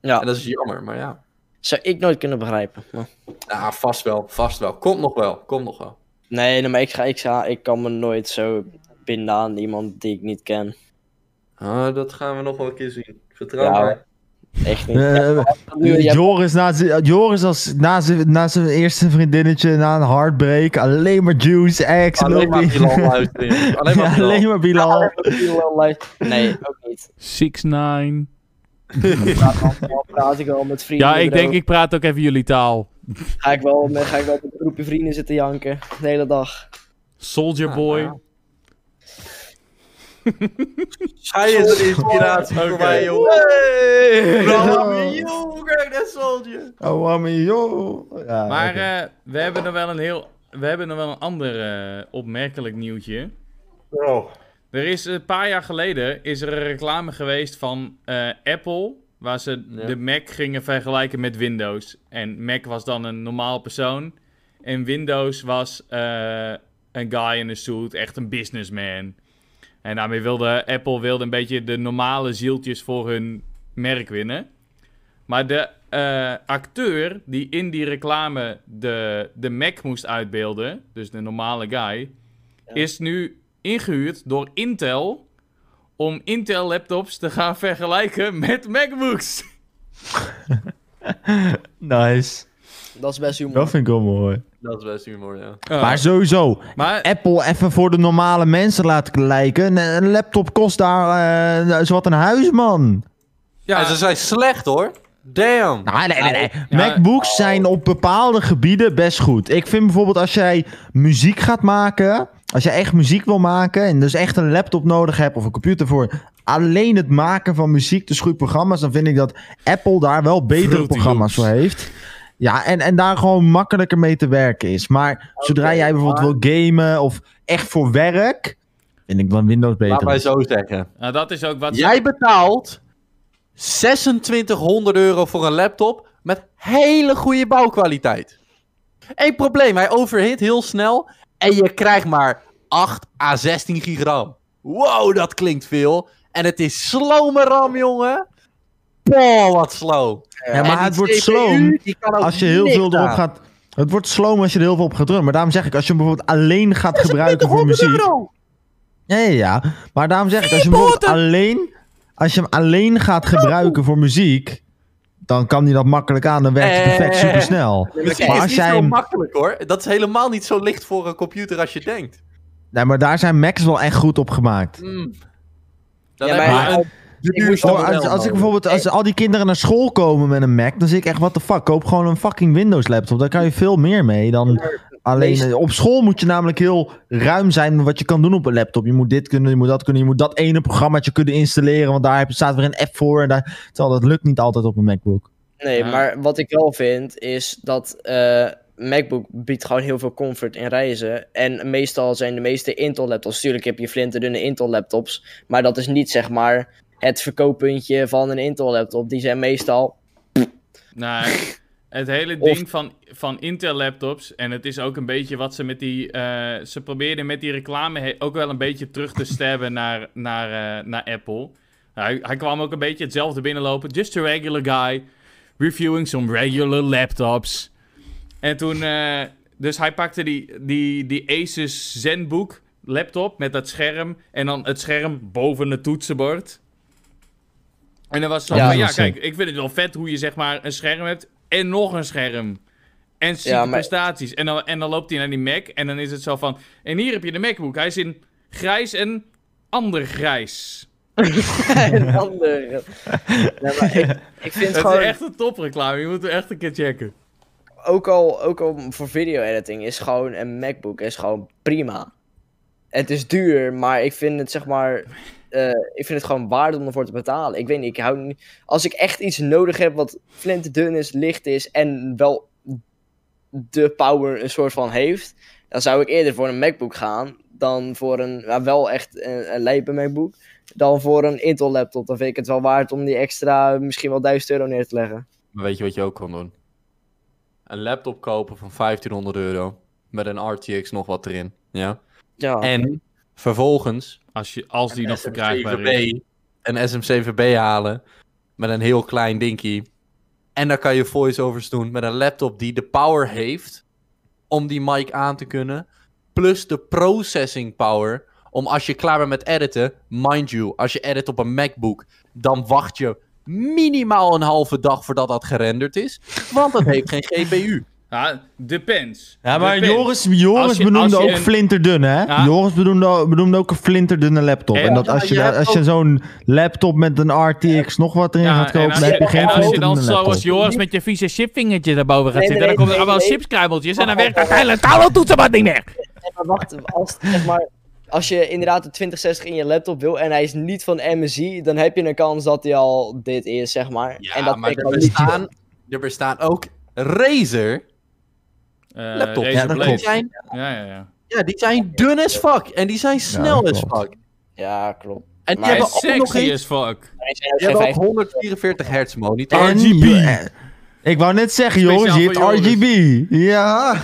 Ja, En dat is jammer, maar ja. zou ik nooit kunnen begrijpen. maar- Ja, vast wel, vast wel. Komt nog wel, komt nog wel. Nee, nee, maar ik, ga, ik, ga, ik kan me nooit zo binden aan iemand die ik niet ken. Ah, dat gaan we nog wel een keer zien. Vertrouw Ja, mij. Echt niet. Eh, Nu, jij- Joris, na zi- Joris als, na, zijn, na zijn eerste vriendinnetje, na een heartbreak, alleen maar Juice, ex, Alleen maar Milky. Bilal luisteren. Alleen maar Ja, Bilal. alleen maar Bilal. Nee, ook niet. 6 9 Dan praat ik wel met vrienden. Ja, ik denk, erover. ik praat ook even jullie taal. Ga ik wel met, ga ik wel met een groepje vrienden zitten janken. De hele dag. Soldier Ah, Boy. ah. Hij is de inspiratie voor mij, joh. Bro, yo, kijk dat soldier. Oh, mami, joh. Ja, Maar oké. eh, we hebben nog wel een heel... We hebben nog wel een ander eh, opmerkelijk nieuwtje. Bro. Er is een paar jaar geleden is er een reclame geweest van eh, Apple. Waar ze Ja. de Mac gingen vergelijken met Windows. En Mac was dan een normaal persoon. En Windows was eh, een guy in a suit, echt een businessman. En daarmee wilde Apple wilde een beetje de normale zieltjes voor hun merk winnen. Maar de eh, acteur die in die reclame de, de Mac moest uitbeelden, dus de normale guy, is nu ingehuurd door Intel om Intel laptops te gaan vergelijken met MacBooks. Nice. Dat is best humor. Dat vind ik wel mooi. Dat is best humor, ja. Ja, Maar sowieso, maar Apple even voor de normale mensen laten lijken. Een- Een laptop kost daar eh zowat een huis, man. ja, dus- En ze zijn slecht, hoor. Damn. Nou, oh. nee, nee, nee. Ja. MacBooks zijn op bepaalde gebieden best goed. Ik vind bijvoorbeeld als jij muziek gaat maken, als je echt muziek wil maken en dus echt een laptop nodig hebt of een computer voor alleen het maken van muziek, dus goede programma's, dan vind ik dat Apple daar wel betere Fruity programma's voor Loops. heeft. Ja, en, en daar gewoon makkelijker mee te werken is. Maar zodra jij bijvoorbeeld wil gamen of echt voor werk, vind ik dan Windows Laat mij beter. zo zeggen. nou, dat is ook wat ze- Jij betaalt 2600 euro voor een laptop met hele goede bouwkwaliteit. Eén probleem, hij overhit heel snel en je krijgt maar 8 à 16 gigram. Wow, dat klinkt veel. En het is slome RAM, jongen. Poh, wat slow. Ja, maar het wordt sloom. slow als je heel veel erop gaat. Het wordt sloom als je er heel veel op gaat drukken. Maar daarom zeg ik, als je hem bijvoorbeeld alleen gaat gebruiken voor muziek. Ja, ja, ja. Maar daarom zeg ik, als je hem bijvoorbeeld alleen. Als je hem alleen gaat gebruiken voor muziek. dan kan hij dat makkelijk aan. Dan werkt hij perfect Eh. supersnel. Het Maar is als niet jij zo hem. makkelijk hoor. Dat is helemaal niet zo licht voor een computer als je denkt. Nee, maar daar zijn Macs wel echt goed op gemaakt. Mm. Dan Ja, heb je maar- een- Ik moest Oh, dat wel als, als ik nodig. bijvoorbeeld. als al die kinderen naar school komen met een Mac. dan zie ik echt, what the fuck. Koop gewoon een fucking Windows laptop. Daar kan je veel meer mee dan. Alleen eh, op school moet je namelijk heel ruim zijn met wat je kan doen op een laptop. Je moet dit kunnen, je moet dat kunnen, je moet dat ene programmaatje kunnen installeren, want daar heb- staat weer een app voor. En daar, terwijl dat lukt niet altijd op een MacBook. Nee, Ja. maar wat ik wel vind is dat eh, MacBook biedt gewoon heel veel comfort in reizen. En meestal zijn de meeste Intel laptops, natuurlijk heb je flinterdunne Intel laptops, maar dat is niet zeg maar het verkooppuntje van een Intel laptop. Die zijn meestal Nou, het hele Of- ding van, van Intel laptops. En het is ook een beetje wat ze met die. eh, ze probeerden met die reclame he- ook wel een beetje terug te stabben naar, naar, eh, naar Apple. Hij, hij kwam ook een beetje hetzelfde binnenlopen. Just a regular guy. Reviewing some regular laptops. En toen. eh, dus hij pakte die, die, die Asus Zenbook laptop met dat scherm. En dan het scherm boven het toetsenbord. En dan was het zo Ja, van, ja dat is kijk, ik vind het wel vet hoe je zeg maar een scherm hebt en nog een scherm. En zieke Ja, maar- prestaties. En dan, en dan loopt hij naar die Mac en dan is het zo van... En hier heb je de MacBook. Hij is in grijs en ander grijs. een ander. Nee, maar ik, ik vind Dat gewoon... is echt een topreclame. Je moet hem echt een keer checken. ook al, ook al voor video editing is gewoon een MacBook is gewoon prima. Het is duur, maar ik vind het zeg maar. eh, ik vind het gewoon waard om ervoor te betalen. Ik weet niet, ik hou niet. Als ik echt iets nodig heb wat flinterdun is, licht is en wel de power een soort van heeft, dan zou ik eerder voor een MacBook gaan dan voor een ja, wel echt een, een lijpe MacBook dan voor een Intel laptop. Dan vind ik het wel waard om die extra misschien wel 1000 euro neer te leggen. Maar weet je wat je ook kan doen? Een laptop kopen van 1500 euro. Met een RTX nog wat erin. Ja. Ja. En vervolgens Als, je, als die nog verkrijgbaar is. SMCVB, een SMCVB halen. Met een heel klein dinkie. En dan kan je voiceovers doen met een laptop die de power heeft. Om die mic aan te kunnen. Plus de processing power. Om als je klaar bent met editen. Mind you, als je edit op een MacBook. Dan wacht je minimaal een halve dag voordat dat gerenderd is. Want dat heeft geen GPU. Ja, depends. Ja, maar Depends. Joris, Als Joris je- benoemde als je ook een- flinterdun, hè? Ja. Joris benoemde, benoemde ook een flinterdunne laptop. Ja. En dat als je, Ja, je daar- als je zo'n laptop met een RTX nog wat erin Ja, gaat kopen, en als dan heb je je, geen en als je dan flinterdunne zoals laptop. Joris met je vieze chipvingertje daarboven gaat Nee, zitten... nee, dan komen er nee, allemaal nee. chipskruimeltjes en dan werkt dat hele toetsenbord niet meer. Maar wacht, als, zeg maar, als je inderdaad de 2060 in je laptop wil en hij is niet van MSI, dan heb je een kans dat hij al dit is, zeg maar. Ja, en dat maar ik er al niet- bestaan, er bestaan ook Razer. Eh, Laptop. Razer Ja, dat Blade. Die klopt. zijn, Ja, ja, ja. ja, die zijn dun as fuck. En die zijn snel dat as klopt. fuck. Ja, klopt. En die Maar Hij hebben is ook nog sexy eh, eens as fuck. Maar die zijn ook die geen hebben ook 15. 144 hertz monitor. En RGB. je- eh, Ik wou net zeggen, Speciaal Joris, je hebt voor Joris. RGB. Ja.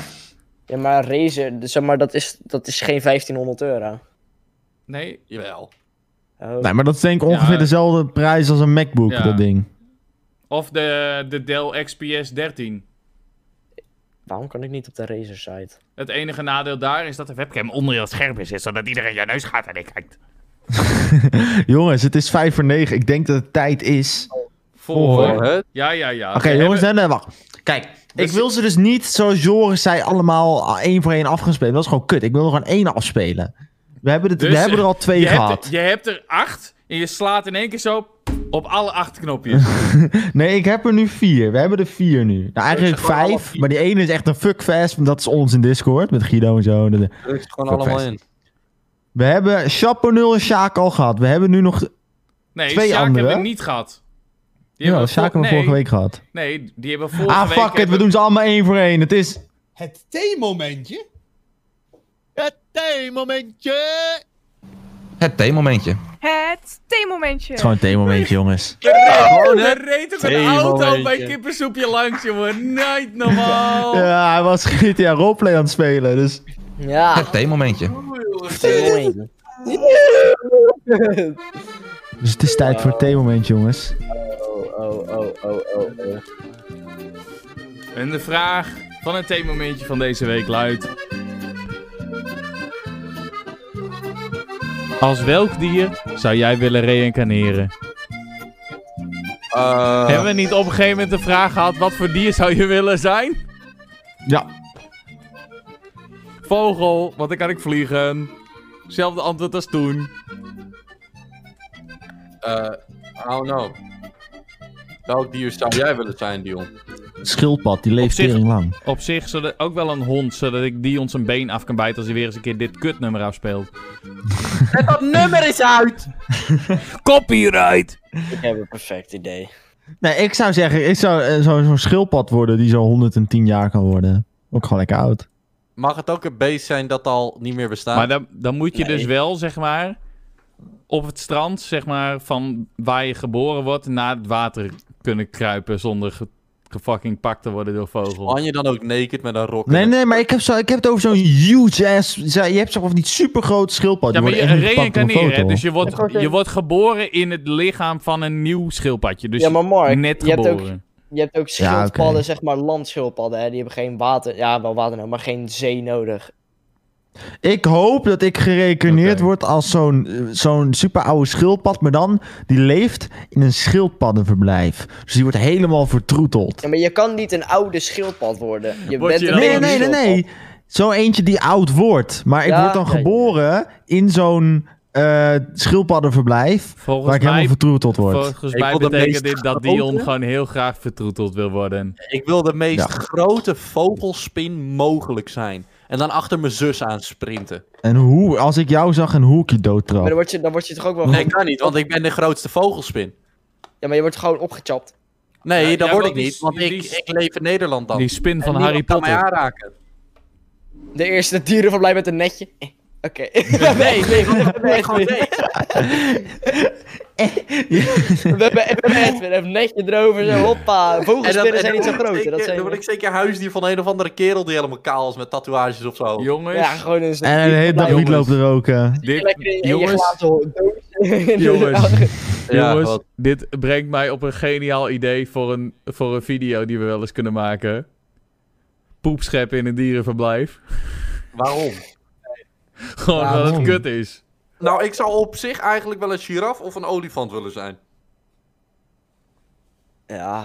Ja, maar Razer, dus zeg maar, dat is, dat is geen 1500 euro. Nee. Jawel. Oh. Nee, maar dat is denk ik ongeveer Ja. dezelfde prijs als een MacBook, Ja. dat ding. Of de, de Dell XPS 13. Waarom kan ik niet op de Razer site? Het enige nadeel daar is dat de webcam onder je scherm is, zodat iedereen je neus gaat en ik kijkt. Jongens, het is vijf voor negen. Ik denk dat het tijd is. Voor. Voor het Ja, ja, ja. We Oké, jongens, hebben- nee, nee, wacht. Kijk, ik Dus- wil ze dus niet, zoals Joris zei, allemaal één voor één af gaan spelen. Dat is gewoon kut. Ik wil er gewoon één afspelen. We hebben, het, we Dus, hebben er al twee je gehad. Hebt, je hebt er acht en je slaat in één keer zo op alle acht knopjes. Nee, ik heb er nu vier. We hebben er vier nu. Nou, eigenlijk zeg gewoon alle vijf. vier. Maar die ene is echt een fuckfest. want Dat is ons in Discord met Guido en zo. Dat- drukt het gewoon Voor allemaal vast. in. We hebben Chaponul en Sjaak al gehad. We hebben nu nog... Nee, Twee Sjaak andere, hebben we hè? niet gehad. Die Ja, hebben we Sjaak vor- hebben we nee, vorige week gehad. Nee, die hebben we vorige Ah, week... fuck it. We hebben- doen ze allemaal één voor één. Het is... Het theemomentje. Het theemomentje. Het theemomentje. Het Het theemomentje. is gewoon een momentje, jongens. Oh, Gewoon, hè? Er Oh, reed ook een Twee auto bij momentje. kippensoepje langs, jongen. Niet normaal. Ja, hij was GTA Roleplay aan het spelen, dus... Ja, Het theemomentje. mooi. Dus het is tijd voor het theemoment, jongens. Oh, oh, oh, oh, oh, oh. En de vraag van het theemomentje van deze week luidt... Als welk dier zou jij willen reïncarneren? Eh, Hebben we niet op een gegeven moment de vraag gehad... wat voor dier zou je willen zijn? Ja. Vogel, want dan kan ik vliegen. Zelfde antwoord als toen. eh, I don't know. Welk dier zou jij willen zijn, Dion? Schildpad, die leeft Op zich- tering lang. Op zich zodat, ook wel een hond, zodat ik die ons een been af kan bijten als hij weer eens een keer dit kutnummer afspeelt. En dat nummer is uit! Copyright! Ik heb een perfect idee. Nee, ik zou zeggen, ik zou eh, zo- zo'n schildpad worden die zo 110 jaar kan worden. Ook gewoon lekker oud. Mag het ook een beest zijn dat al niet meer bestaat? Maar dan, dan moet je Nee. dus wel, zeg maar, op het strand, zeg maar, van waar je geboren wordt, naar het water kunnen kruipen zonder ge- gefucking pakt te worden door Oh, vogel. Kan je dan ook naked met een rok? Nee, nee, maar ik heb, zo, ik heb het over zo'n huge ass. zo- Je hebt zo'n van die supergroot schildpad. Ja, maar Oh, die je worden echt niet gepakt op een reïncarneren, hè, foto. dus je wordt, je wordt geboren in het lichaam van een nieuw schildpadje. Dus ja, maar Mark, net je hebt ook geboren. Je hebt ook Ja, oké. schildpadden, zeg maar landschildpadden, hè? die hebben geen water, ja wel water nodig, maar geen zee nodig. Ik hoop dat ik gerekeneerd Oké. word als zo'n eh, zo'n super oude schildpad. Maar dan, die leeft in een schildpaddenverblijf. Dus die wordt helemaal vertroeteld. Ja, maar je kan niet een oude schildpad worden. Je Word bent je een dan- Nee, nieuwe nee, nee, nee. Zo eentje die oud wordt. Maar ik Ja, word dan nee. geboren in zo'n eh, schildpaddenverblijf. waar Volgens ik helemaal mij, vertroeteld word. volgens Ik mij wil de betekent meest dit dat grote- Dion gewoon heel graag vertroeteld wil worden. Ik wil de meest Ja. grote vogelspin mogelijk zijn. En dan achter mijn zus aan sprinten. En hoe, als ik jou zag en hoe ik je Maar dan doodtrap. word, je, dan word je toch ook wel Nee, gewoon- kan niet, want ik ben de grootste vogelspin. Ja, maar je wordt gewoon opgechapt. Nee, Ja, dat ja, word want ik die- niet, want die- ik, die- ik leef in Nederland Oh. dan. Die spin En van niemand Harry kan mij Potter. aanraken. De eerste dierenverblijf met een netje. Eh, Oké. Nee, nee, nee, nee, gewoon nee. We hebben we hebben echt weer een netje erover, zo En hoppa. dan- Vogelspinnen en zijn niet zo dan word ik groot, hè, zeker- dat zijn Dan word ik zeker huisdier van een of andere kerel die helemaal kaal is met tatoeages of zo. Jongens, Ja, gewoon een En een hele dag Jongens. wiet loopt te roken. dit, Lekker in, in je jongens, glazen ho- doos. Jongens. Ja, jongens, wat- dit brengt mij op een geniaal idee voor een, voor een video die we wel eens kunnen maken. Poepscheppen in een dierenverblijf. Waarom? Gewoon dat het Waarom? kut is. Nou, ik zou op zich eigenlijk wel een giraf of een olifant willen zijn. Ja.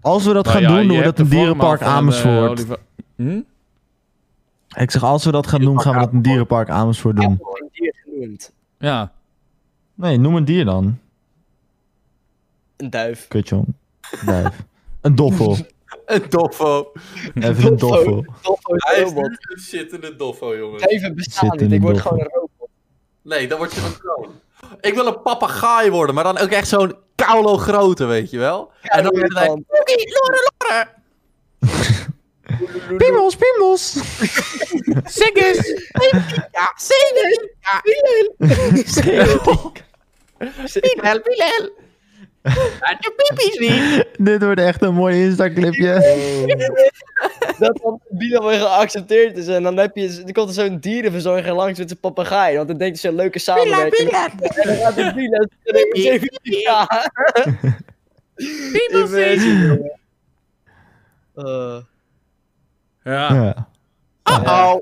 Als we dat Nou gaan ja, je doen, doen we hebt dat in de vorm Dierenpark al van een, eh, Amersfoort. oliva- Hm? Ik zeg, als we dat gaan doen, gaan we dat in Dierenpark Amersfoort Ik heb doen. nog een dier genoemd. Ja. Nee, noem een dier dan. Een duif. Kutjong. Duif. Een doffel. Een doffo. Even een doffel. Doffo is Hij is nu robot. een zittende doffo, jongens. Duiven bestaan Zit in niet, ik een word doffel. gewoon een robot. Nee, dan word je een troon. Ik wil een papegaai worden, maar dan ook echt zo'n kaulo grote, weet je wel? en dan wordt het echt... Piemels, piemels! Ja, zeker! Wilhelm, Wilhelm! Laat je piepie zien! Dit wordt echt een mooi Insta-clipje. dat dan Bilan weer geaccepteerd is. En dan, heb je, dan komt er zo'n dierenverzorger langs met zijn papegaai. Want dan denkt hij zo'n leuke samenwerking. En dan gaat het Bilan schreeuwen, 17 jaar. Ik weet het, jongen. Eh, Ja. Ja. Oh,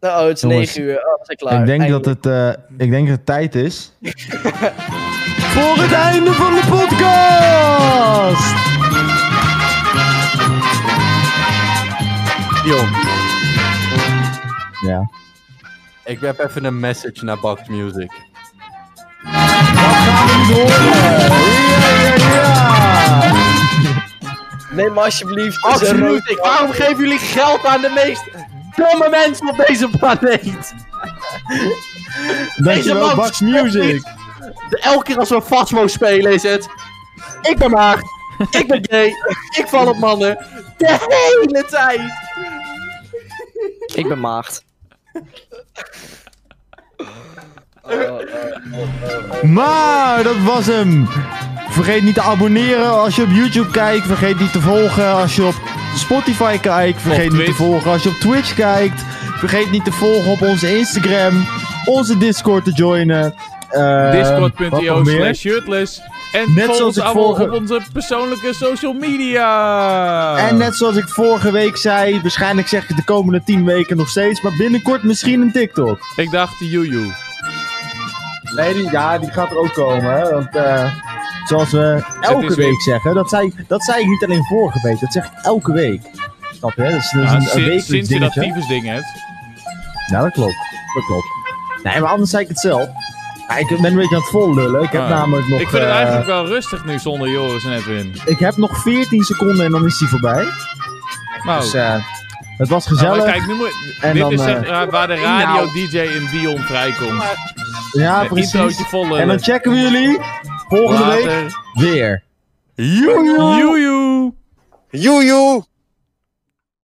oh, het is Jongens, 9 uur. Oh, we zijn klaar. Ik denk dat het, eh, ik denk dat het tijd is. voor het einde van de podcast! Dion. Ja. Ik heb even een message naar Box Music. Neem maar alsjeblieft. Box zo'n rood- Music, waarom geven jullie geld aan de meest domme mensen op deze planeet? Dankjewel, man Bax Music. De- Elke keer als we Fasmo spelen is het... Ik ben maagd, ik ben gay, ik val op mannen. De hele tijd! Ik ben maagd. Oh, oh. Maar dat was hem. Vergeet niet te abonneren als je op YouTube kijkt. Vergeet niet te volgen als je op Spotify kijkt. Vergeet niet te Twitch. volgen als je op Twitch kijkt. Vergeet niet te volgen op onze Instagram. Onze Discord te joinen. Eh, wat nog Discord.io meer? slash shirtless. En Net volg zoals ons ik allemaal vorige- op onze persoonlijke social media. En net zoals ik vorige week zei, waarschijnlijk zeg ik het de komende 10 weken nog steeds. Maar binnenkort misschien een TikTok. Ik dacht Juju. Nee, die, ja, die gaat er ook komen. Hè? Want eh, zoals we elke is week weer- zeggen, dat zei, dat zei ik niet alleen vorige week, dat zeg ik elke week. Snap je? hè? Dat is, dat is Ja, een, een sinds, wekelijks sinds je dat dingetje. tyfusding hebt. Ja, dat klopt. Dat klopt. Nee, maar anders zei ik het zelf. Maar ik ben een beetje aan het vol lullen. Ik heb Ah. namelijk nog... Ik vind het eh, eigenlijk wel rustig nu zonder Joris en Edwin. ik heb nog 14 seconden en dan is die voorbij. Nou, Dus eh, het was Oh. nou, gezellig. maar kijk, nu moet, En dit dan, is zeg eh, maar waar de radio-dj in Dion vrijkomt. ja, Een introotje precies. vol eh, En dan checken we jullie volgende week weer. Joejoe! Joejoe!